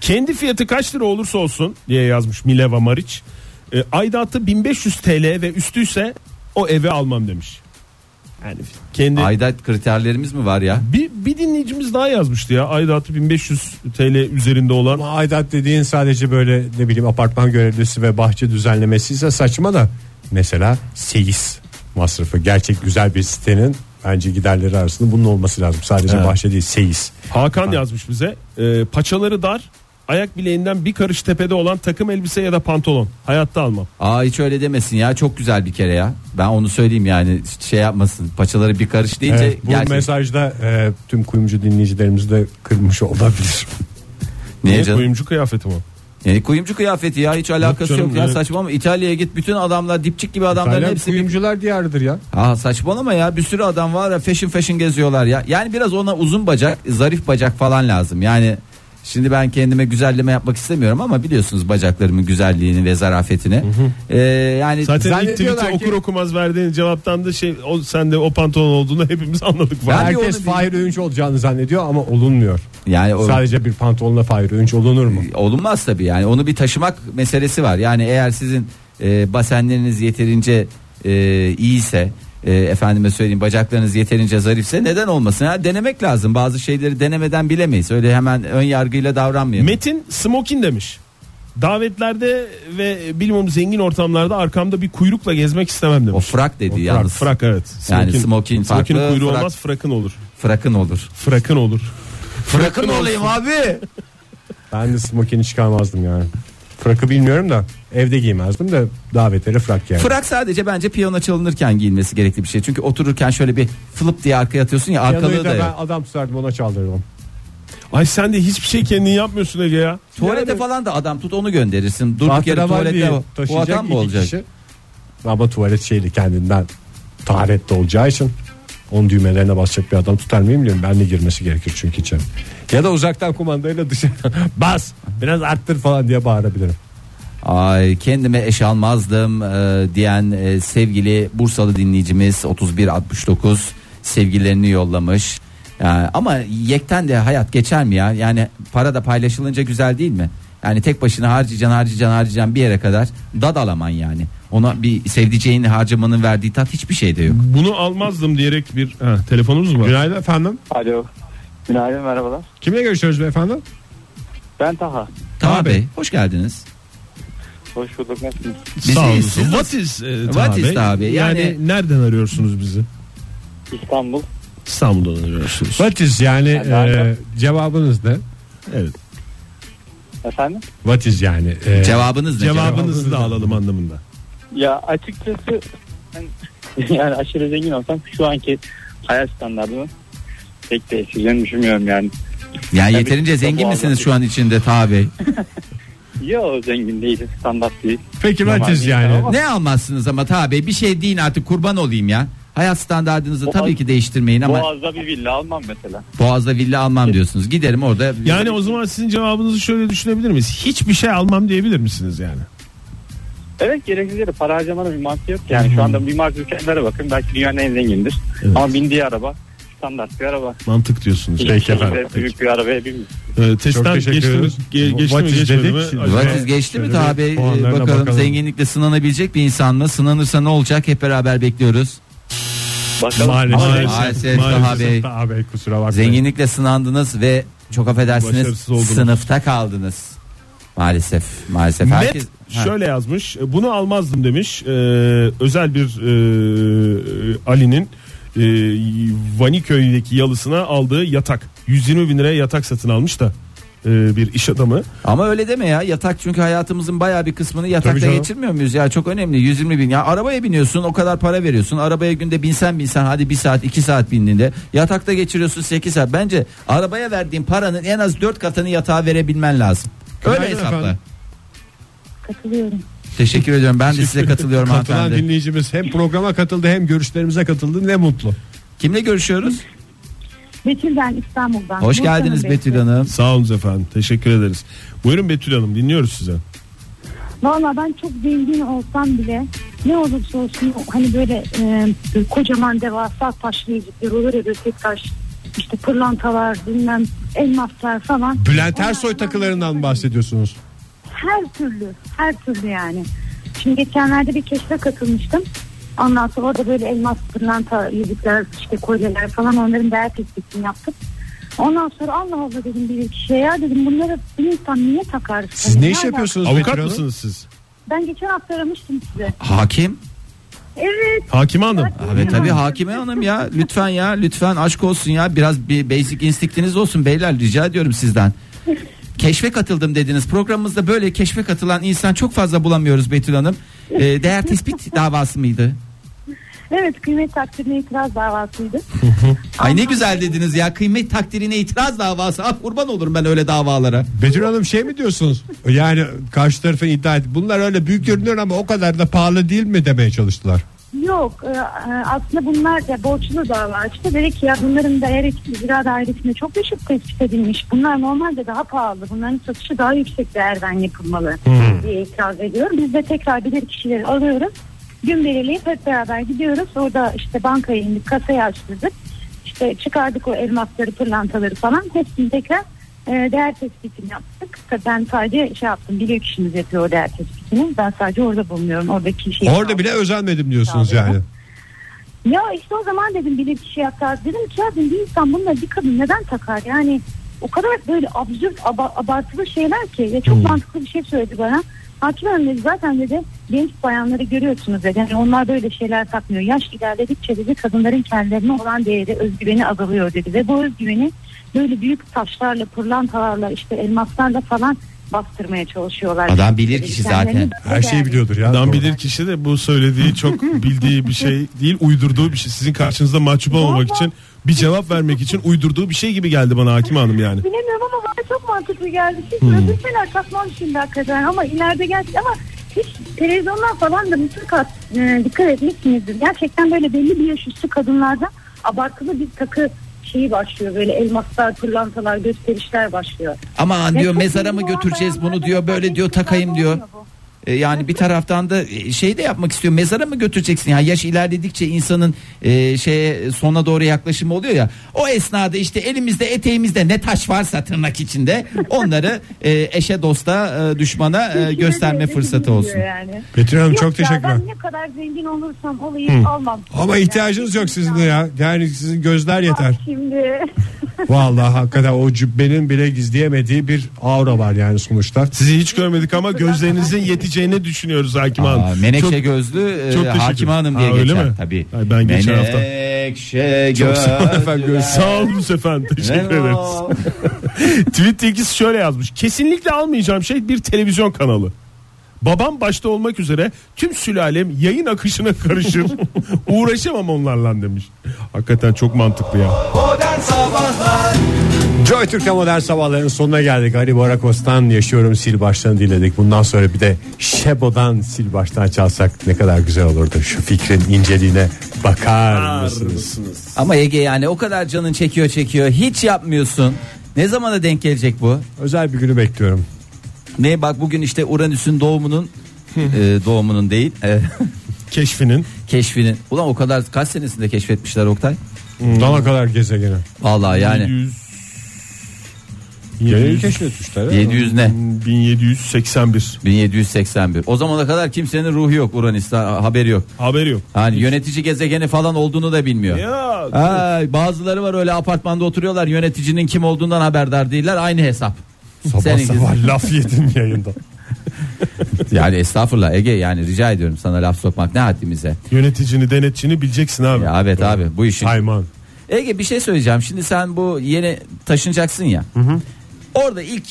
S4: Kendi fiyatı kaç lira olursa olsun diye yazmış Mileva Mariç. E, aidatı 1500 TL ve üstüyse o eve almam demiş. Yani kendi
S3: Aidat kriterlerimiz mi var ya?
S4: Bir, bir dinleyicimiz daha yazmıştı ya aidatı 1500 TL üzerinde olan.
S2: Ama aidat dediğin sadece böyle ne bileyim apartman görevlisi ve bahçe düzenlemesi ise saçma da. Mesela seyis masrafı. Gerçek güzel bir sitenin bence giderleri arasında bunun olması lazım. Sadece
S4: Evet.
S2: bahçe değil seyis.
S4: Hakan yazmış bize e, paçaları dar ayak bileğinden bir karış tepede olan takım elbise ya da pantolon. Hayatta almam.
S3: Aa hiç öyle demesin ya çok güzel bir kere ya. Ben onu söyleyeyim yani şey yapmasın paçaları bir karış deyince
S2: Evet, bu
S3: gerçek-
S2: mesajda e, tüm kuyumcu dinleyicilerimiz de kırmış olabilir.
S3: Niye
S4: Ne
S3: canım?
S4: kuyumcu kıyafeti mi? o?
S3: Yani kuyumcu kıyafeti ya hiç alakası yok,
S4: canım,
S3: ya
S4: evet.
S3: saçma ama İtalya'ya git bütün adamlar dipçik gibi adamların
S2: Hala
S3: hepsi bir...
S2: kuyumcular diyarıdır ya.
S3: Aa saçmalama ya bir sürü adam var ya fashion fashion geziyorlar ya. Yani biraz ona uzun bacak zarif bacak falan lazım yani şimdi ben kendime güzelleme yapmak istemiyorum ama biliyorsunuz bacaklarımın güzelliğini ve zarafetini. Ee, yani
S4: Zaten ilk
S2: Zannediyorlar
S4: tweet'i
S2: ki-
S4: okur okumaz verdiğin cevaptan da şey o, sen de o pantolon olduğunu hepimiz anladık.
S3: Ben
S4: falan.
S3: bir
S2: Herkes
S3: onu
S2: Fahir Öğünç olacağını zannediyor ama olunmuyor.
S3: yani o- E,
S2: Sadece bir pantolonla Fahir Öğünç olunur mu?
S3: olunmaz tabii yani onu bir taşımak meselesi var yani eğer sizin e, basenleriniz yeterince e, iyiyse e, efendime söyleyeyim bacaklarınız yeterince zarifse neden olmasın ha denemek lazım bazı şeyleri denemeden bilemeyiz öyle hemen ön yargıyla davranmayalım
S4: Metin Smokin demiş. Davetlerde ve bilmem zengin ortamlarda arkamda bir kuyrukla gezmek istemem
S3: o
S4: demiş.
S3: frak dedi
S4: frak,
S3: yalnız
S4: frak evet. Smokin,
S3: Yani smokin farklı,
S4: kuyruğu
S3: frak-
S4: olmaz frakın olur.
S3: frakın olur
S4: Frakın olur.
S3: frakın olayım abi
S2: Ben de smokini çıkarmazdım yani. Frakı bilmiyorum da evde giymezdim de davetlere frak yani.
S3: frak sadece bence piyano çalınırken giyilmesi gerekli bir şey çünkü otururken şöyle bir flip diye arkaya atıyorsun ya
S2: Piyanoyu
S3: arkalığı
S2: da
S3: da
S2: ben
S3: yok.
S2: adam tutardım ona çaldırırdım.
S4: Ay sen de hiçbir şey kendin yapmıyorsun Ege ya.
S3: Tuvalete falan da adam tut onu gönderirsin. Durduk yere
S2: Tahterevali
S3: tuvalette o- o
S2: taşıyacak
S3: adam mı
S2: iki
S3: olacak?
S2: kişi. Ama tuvalet şeyli kendinden taharetli olacağı için onun düğmelerine basacak bir adam tutar mıyım bilmiyorum. Ben de girmesi gerekir çünkü içeri. Ya da uzaktan kumandayla dışarı bas biraz arttır falan diye bağırabilirim.
S3: Ay kendime eş almazdım e, diyen e, sevgili Bursalı dinleyicimiz 3169 sevgilerini yollamış. Yani ama yekten de hayat geçer mi ya? Yani para da paylaşılınca güzel değil mi? Yani tek başına harcayacaksın harcayacaksın harcayacaksın bir yere kadar dadalaman yani. Ona bir sevdiceğin harcamanın verdiği tat hiçbir şeyde yok.
S4: Bunu almazdım diyerek bir ha, telefonumuz mu var?
S2: Günaydın efendim.
S7: Alo. Günaydın merhabalar.
S2: Kimle görüşüyoruz beyefendi?
S7: Ben Taha.
S3: Taha Bey hoş geldiniz.
S7: Hoş bulduk. Nasılsınız?
S3: Bizi
S4: Sağ olun.
S3: siz-
S4: What is, e,
S3: What
S4: Taha
S3: is
S4: Bey?
S3: Taha Bey?
S4: Yani,
S3: Yani-
S4: nereden arıyorsunuz bizi?
S7: İstanbul.
S4: İstanbul'dan arıyorsunuz.
S2: What is yani e, cevabınız ne?
S4: Evet.
S7: Efendim?
S2: What is yani? E,
S3: Cevabınız ne?
S4: Cevabınızı da alalım anlamında.
S7: Ya açıkçası ben- yani aşırı zengin olsam şu anki hayat standartını pek değiştireceğini düşünmüyorum yani.
S3: Yani
S7: Tabii
S3: yeterince
S7: ki
S3: zengin
S7: bu
S3: misiniz
S7: anlamda-
S3: şu an içinde Taha Bey?
S7: Yo zengin değiliz standart değil.
S2: Peki what
S7: Normal
S2: is
S7: bir
S2: yani?
S7: insan ama-
S3: Ne almazsınız ama Taha Bey bir şey deyin artık kurban olayım ya. Hayat standartınızı tabii ki değiştirmeyin ama
S7: Boğaz'da bir villa almam mesela.
S3: Boğaz'da villa almam diyorsunuz. Giderim orada.
S4: Yani o zaman sizin cevabınızı şöyle düşünebilir miyiz? Hiçbir şey almam diyebilir misiniz yani?
S7: Evet gereksiz yere para harcamanın bir mantığı yok. Yani şu anda bir marka ülkelere bakın belki dünyanın en zengindir.
S4: Hmm. Evet.
S7: Ama bindiği araba standart bir araba.
S4: Mantık diyorsunuz.
S7: İlk kez de Büyük bir arabaya binmiyor.
S4: Ee, testten
S2: Çok teşekkür
S4: geçti mi,
S2: ederiz.
S4: ge- geçti
S2: What
S4: mi
S2: is
S4: geçmedi
S2: dedik?
S4: mi?
S2: Şimdi-
S4: Acaba-
S3: Vatiz geçti mi
S2: Şöyle
S3: Taha
S2: bir
S3: Bey? Ee,
S2: puanlarına
S3: Bakalım,
S2: bakalım.
S3: zenginlikle sınanabilecek bir insan mı? Sınanırsa ne olacak? Hep beraber bekliyoruz.
S7: Bakalım.
S4: Maalesef.
S7: Ama-
S3: Maalesef Taha Bey.
S2: Taha Bey kusura bakmayın.
S3: Zenginlikle sınandınız ve çok affedersiniz
S4: Başarısız oldunuz.
S3: sınıfta kaldınız. Maalesef maalesef. Herkes...
S4: Met
S3: Ha.
S4: şöyle yazmış. "E, Bunu almazdım demiş. Ee, özel bir e, Ali'nin e, Vaniköy'deki yalısına aldığı yatak. 120 bin liraya yatak satın almış da e, bir iş adamı.
S3: Ama öyle deme ya yatak çünkü hayatımızın bayağı bir kısmını yatakta
S2: canım.
S3: geçirmiyor muyuz ya çok önemli 120 bin ya arabaya biniyorsun o kadar para veriyorsun arabaya günde binsen binsen hadi bir saat 2 saat bindiğinde yatakta geçiriyorsun 8 saat bence arabaya verdiğin paranın en az 4 katını yatağa verebilmen lazım öyle
S2: Günaydın
S3: hesapla
S2: efendim.
S9: Katılıyorum.
S3: teşekkür ediyorum ben de size katılıyorum
S2: Katılan
S3: hanımefendi
S2: dinleyicimiz hem programa katıldı hem görüşlerimize katıldı ne mutlu.
S3: kimle görüşüyoruz
S9: Betül ben İstanbul'dan.
S3: hoş
S9: Bursa'nın
S3: geldiniz
S9: Betül.
S3: Betül Hanım
S4: Sağ olun efendim. Teşekkür ederiz. Buyurun Betül Hanım dinliyoruz size.
S9: Valla ben çok zengin olsam bile ne olursa olsun hani böyle e, kocaman devasa taşlı yüzükler olur ya böyle tek taş işte pırlantalar bilmem elmaslar falan.
S2: Bülent
S9: Onlar-
S2: Ersoy takılarından mı bahsediyorsunuz.
S9: Her türlü her türlü yani. Şimdi geçenlerde bir keşfe katılmıştım. Ondan sonra orada böyle elmas pırlanta yüzükler işte kolyeler falan onların değer tespitini yaptım. Ondan sonra Allah Allah dedim bir kişiye ya dedim bunları bir insan niye takar?
S2: Siz
S9: Hani
S2: ne iş
S9: nereden-
S2: yapıyorsunuz
S4: Avukat
S2: Betül Hanım?
S4: mısınız siz?
S9: Ben geçen hafta aramıştım size.
S3: hakim
S9: Evet.
S4: Hakime Hanım.
S3: Abi tabii Hakime Hanım ya lütfen ya lütfen aşk olsun ya biraz bir basic instinktiniz olsun beyler rica ediyorum sizden. Keşfe katıldım dediniz. Programımızda böyle keşfe katılan insan çok fazla bulamıyoruz Betül Hanım. Ee, değer tespit davası mıydı?
S9: Evet kıymet takdirine itiraz davasıydı.
S3: Ay ne güzel dediniz ya. Kıymet takdirine itiraz davası. Ah kurban olurum ben öyle davalara.
S2: Betül Hanım şey mi diyorsunuz? Yani karşı tarafın iddia et. Bunlar öyle büyük görünüyor ama o kadar da pahalı değil mi demeye çalıştılar.
S9: Yok e, e, aslında bunlar da borçlu dava açtı. Dedi ki ya bunların değer etkisi zira dairesinde çok düşük tespit edilmiş. Bunlar normalde daha pahalı. Bunların satışı daha yüksek değerden yapılmalı diye itiraz ediyor. Biz de tekrar bilir kişileri alıyoruz. Gün belirleyip hep beraber gidiyoruz. Orada işte bankaya indik kasayı açtırdık. İşte çıkardık o elmasları pırlantaları falan. Hepsini tekrar e, değer tespitini yaptık. Tabii Ben sadece şey yaptım bilir kişimiz yapıyor o değer tespitini. Ben sadece orada bulunuyorum. Oradaki şey
S2: Orada bile özenmedim diyorsunuz yani.
S9: ya işte o zaman dedim bir kişi yapar. Dedim ki ya dedim, bir insan bununla bir kadın neden takar? Yani o kadar böyle absürt aba- abartılı şeyler ki. Ya çok
S3: Hmm.
S9: mantıklı bir şey söyledi bana. Hakim Hanım dedi zaten dedi genç bayanları görüyorsunuz dedi. Yani onlar böyle şeyler takmıyor. Yaş ilerledikçe dedi kadınların kendilerine olan değeri özgüveni azalıyor dedi. Ve bu özgüveni böyle büyük taşlarla, pırlantalarla, işte elmaslarla falan bastırmaya çalışıyorlar.
S3: Adam bilirkişi zaten. şey
S9: Kendilerini böyle
S2: Her şeyi
S9: değerli-
S2: biliyordur ya.
S4: Adam
S2: Doğru.
S4: bilir kişi de bu söylediği çok bildiği bir şey değil uydurduğu bir şey. Sizin karşınızda mahcup olmamak için bir cevap vermek için uydurduğu bir şey gibi geldi bana Hakim Hanım yani.
S9: Bilemiyorum ama bana çok mantıklı geldi. Hiç hmm. şeyler takmam şimdi hakikaten ama ileride gerçek ama hiç televizyondan falan da mutlaka e, dikkat etmişsinizdir. Gerçekten böyle belli bir yaş üstü kadınlarda abartılı bir takı şeyi başlıyor. Böyle elmaslar, pırlantalar, gösterişler başlıyor.
S3: Aman
S9: Ve
S3: diyor
S9: çok
S3: mezara
S9: ünlü
S3: mı
S9: olan
S3: götüreceğiz bunu
S9: bayanlarda
S3: diyor
S9: mesela
S3: böyle diyor
S9: eskiden
S3: takayım diyor.
S9: olmuyor bu.
S3: E, Yani bir taraftan da e, şey de yapmak istiyor. Mezara mı götüreceksin ya? Yaş ilerledikçe insanın e, şeye sona doğru yaklaşımı oluyor ya. O esnada işte elimizde eteğimizde ne taş varsa tırnak içinde onları e, eşe dosta e, düşmana e,
S9: Hiç
S3: gösterme
S9: kimse
S3: fırsatı
S9: bilmiyor
S3: olsun.
S9: Yani.
S2: Betül Hanım
S9: Yok
S2: çok
S9: ya,
S2: teşekkürler.
S9: Ben ne kadar zengin olursam olayım almam.
S2: Ama ihtiyacınız yok sizin de ya. Yani sizin gözler yeter.
S9: Şimdi
S2: Vallahi hakikaten o cübbenin bile gizleyemediği bir aura var yani sonuçta.
S4: Sizi hiç görmedik ama gözlerinizin yeteceğini düşünüyoruz Hakim Hanım.
S3: Aa, menekşe
S4: Çok-
S3: gözlü e,
S4: çok teşekkür-
S3: Hakim Hanım diye
S4: Ha, öyle
S3: geçer
S4: mi?
S3: tabii.
S4: Ay, ben geçen hafta-
S3: Menekşe
S4: Çok sağ olun efendim.
S3: gözlü.
S4: Sağ olun efendim. Teşekkür ederiz.
S3: Hello.
S4: Tweet ikisi şöyle yazmış. Kesinlikle almayacağım şey bir televizyon kanalı. Babam başta olmak üzere tüm sülalem yayın akışına karışır. Uğraşamam onlarla demiş. Hakikaten çok mantıklı ya.
S2: Joy Türk'te modern sabahların sonuna geldik. Ali Barakos'tan yaşıyorum sil baştan diledik. Bundan sonra bir de Şebo'dan sil baştan çalsak ne kadar güzel olurdu. Şu fikrin inceliğine bakar mısınız?
S3: Ama Ege yani o kadar canın çekiyor çekiyor hiç yapmıyorsun. Ne zamana denk gelecek bu?
S2: Özel bir günü bekliyorum.
S3: Ne bak bugün işte Uranüs'ün doğumunun e, doğumunun değil e,
S4: Keşfinin.
S3: keşfinin. Ulan o kadar kaç senesinde keşfetmişler Oktay?
S2: Hmm. Dana kadar gezegene.
S3: Vallahi yani
S4: 700
S2: Geneli
S4: 700
S2: keşfetmişler. ya.
S3: 700 ne?
S4: 1781.
S3: 1781. O zamana kadar kimsenin ruhu yok Uranüs'te ha- haberi yok.
S4: Haberi yok.
S3: Hani yönetici gezegeni falan olduğunu da bilmiyor.
S4: Ya.
S3: Ay, bazıları var öyle apartmanda oturuyorlar yöneticinin kim olduğundan haberdar değiller aynı hesap.
S2: Sabah
S3: Seninkisi.
S2: sabah laf yedim yayında.
S3: Yani estağfurullah Ege yani rica ediyorum sana laf sokmak ne haddimize.
S4: Yöneticini denetçini bileceksin abi.
S3: Ya evet abi bu işin.
S2: Hayman.
S3: Ege bir şey söyleyeceğim. Şimdi sen bu yeni taşınacaksın ya. Orada ilk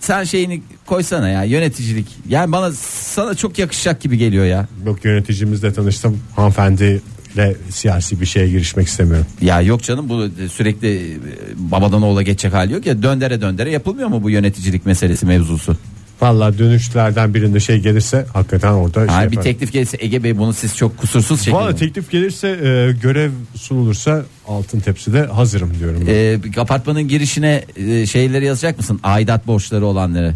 S3: sen şeyini koysana ya yöneticilik. Yani bana sana çok yakışacak gibi geliyor ya.
S2: Yok yöneticimizle tanıştım. Hanımefendiyle siyasi bir şeye girişmek istemiyorum.
S3: Ya yok canım bu sürekli e, babadan oğula geçecek hali yok ya. Döndere döndere yapılmıyor mu bu yöneticilik meselesi mevzusu?
S2: Valla dönüşlerden birinde şey gelirse hakikaten orada şey
S3: Ha, bir
S2: yaparım.
S3: teklif gelirse Ege Bey bunu siz çok kusursuz şekilde.
S2: Valla teklif gelirse e, görev sunulursa altın tepside hazırım diyorum. ben.
S3: E, bir apartmanın girişine e, şeyleri yazacak mısın? Aidat borçları olanları.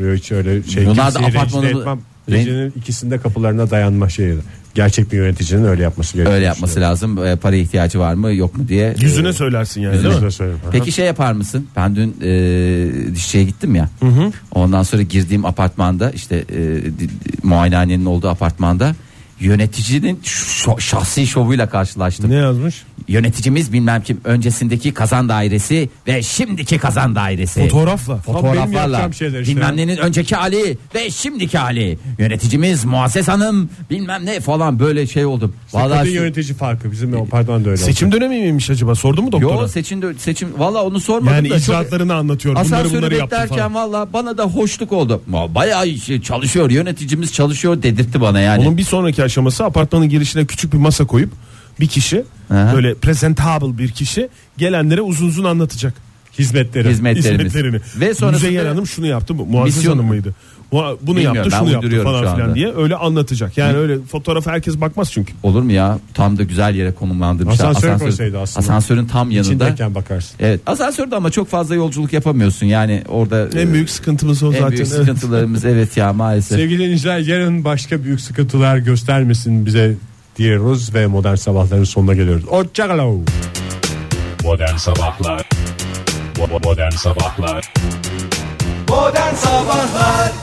S2: Böyle hiç öyle şey
S3: Bunlar da
S2: kimseyi rencide
S3: apartmanı-
S2: etmem. Gecenin ikisinde kapılarına dayanma şeyi. Gerçek bir yöneticinin öyle yapması gerekiyor.
S3: Öyle yapması lazım. E, para ihtiyacı var mı yok mu diye.
S4: Yüzüne
S3: E,
S4: söylersin yani.
S2: Yüzüne
S4: değil mi?
S2: söylerim. Aha.
S3: Peki şey yapar mısın? Ben dün e, dişçiye gittim ya. Ondan sonra girdiğim apartmanda işte e, di- di- muayenehanenin olduğu apartmanda yöneticinin şo- şahsi şovuyla karşılaştım.
S4: Ne yazmış?
S3: yöneticimiz bilmem kim öncesindeki kazan dairesi ve şimdiki kazan dairesi.
S4: Fotoğrafla.
S2: Tam benim
S3: Fotoğraflarla
S2: yapacağım şeyler işte.
S3: bilmem nenin önceki Ali ve şimdiki Ali yöneticimiz Muasses Hanım bilmem ne falan böyle şey oldum.
S2: Kadın
S3: Vallahi
S2: yönetici farkı bizim o pardon da öyle.
S4: Seçim dönemi miymiş acaba? Sordu mu doktora?
S3: Yo seçim seçim valla onu sormadım
S4: yani
S3: da çok-
S4: icraatlarını anlatıyor. Bunları
S3: Asansörü
S4: bunları yaptı
S3: beklerken
S4: falan.
S3: valla bana da hoşluk oldu. Ma- Bayağı işi şey, çalışıyor yöneticimiz çalışıyor dedirtti bana yani.
S4: Onun bir sonraki aşaması apartmanın girişine küçük bir masa koyup bir kişi
S3: Aha.
S4: böyle presentable bir kişi gelenlere uzun uzun anlatacak. Hizmetleri.
S3: Hizmetlerimiz.
S4: Hizmetlerini.
S3: Ve sonrasında-
S4: Müzeyyen Hanım şunu yaptı. bu- Muazzez
S3: Misyon-
S4: Hanım mıydı? Mua- Bunu
S3: Bilmiyorum,
S4: yaptı
S3: ben
S4: şunu yaptı
S3: uyduruyorum şu
S4: falan
S3: anda.
S4: filan diye öyle anlatacak. Yani öyle fotoğrafa herkes bakmaz çünkü.
S3: Olur mu ya? Tam da güzel yere konumlandırmışlar.
S2: Asansör koysaydı aslında.
S3: Asansörün tam yanında.
S2: İçindeyken bakarsın.
S3: Evet asansörde ama çok fazla yolculuk yapamıyorsun yani orada
S4: En
S3: e,
S4: büyük sıkıntımız o
S3: en
S4: zaten.
S3: büyük sıkıntılarımız evet ya maalesef.
S2: Sevgili dinleyiciler yarın başka büyük sıkıntılar göstermesin bize diyoruz ve modern sabahların sonuna geliyoruz. Hoşçakalın.
S11: Modern Sabahlar Bo- bo- Modern Sabahlar
S12: Modern Sabahlar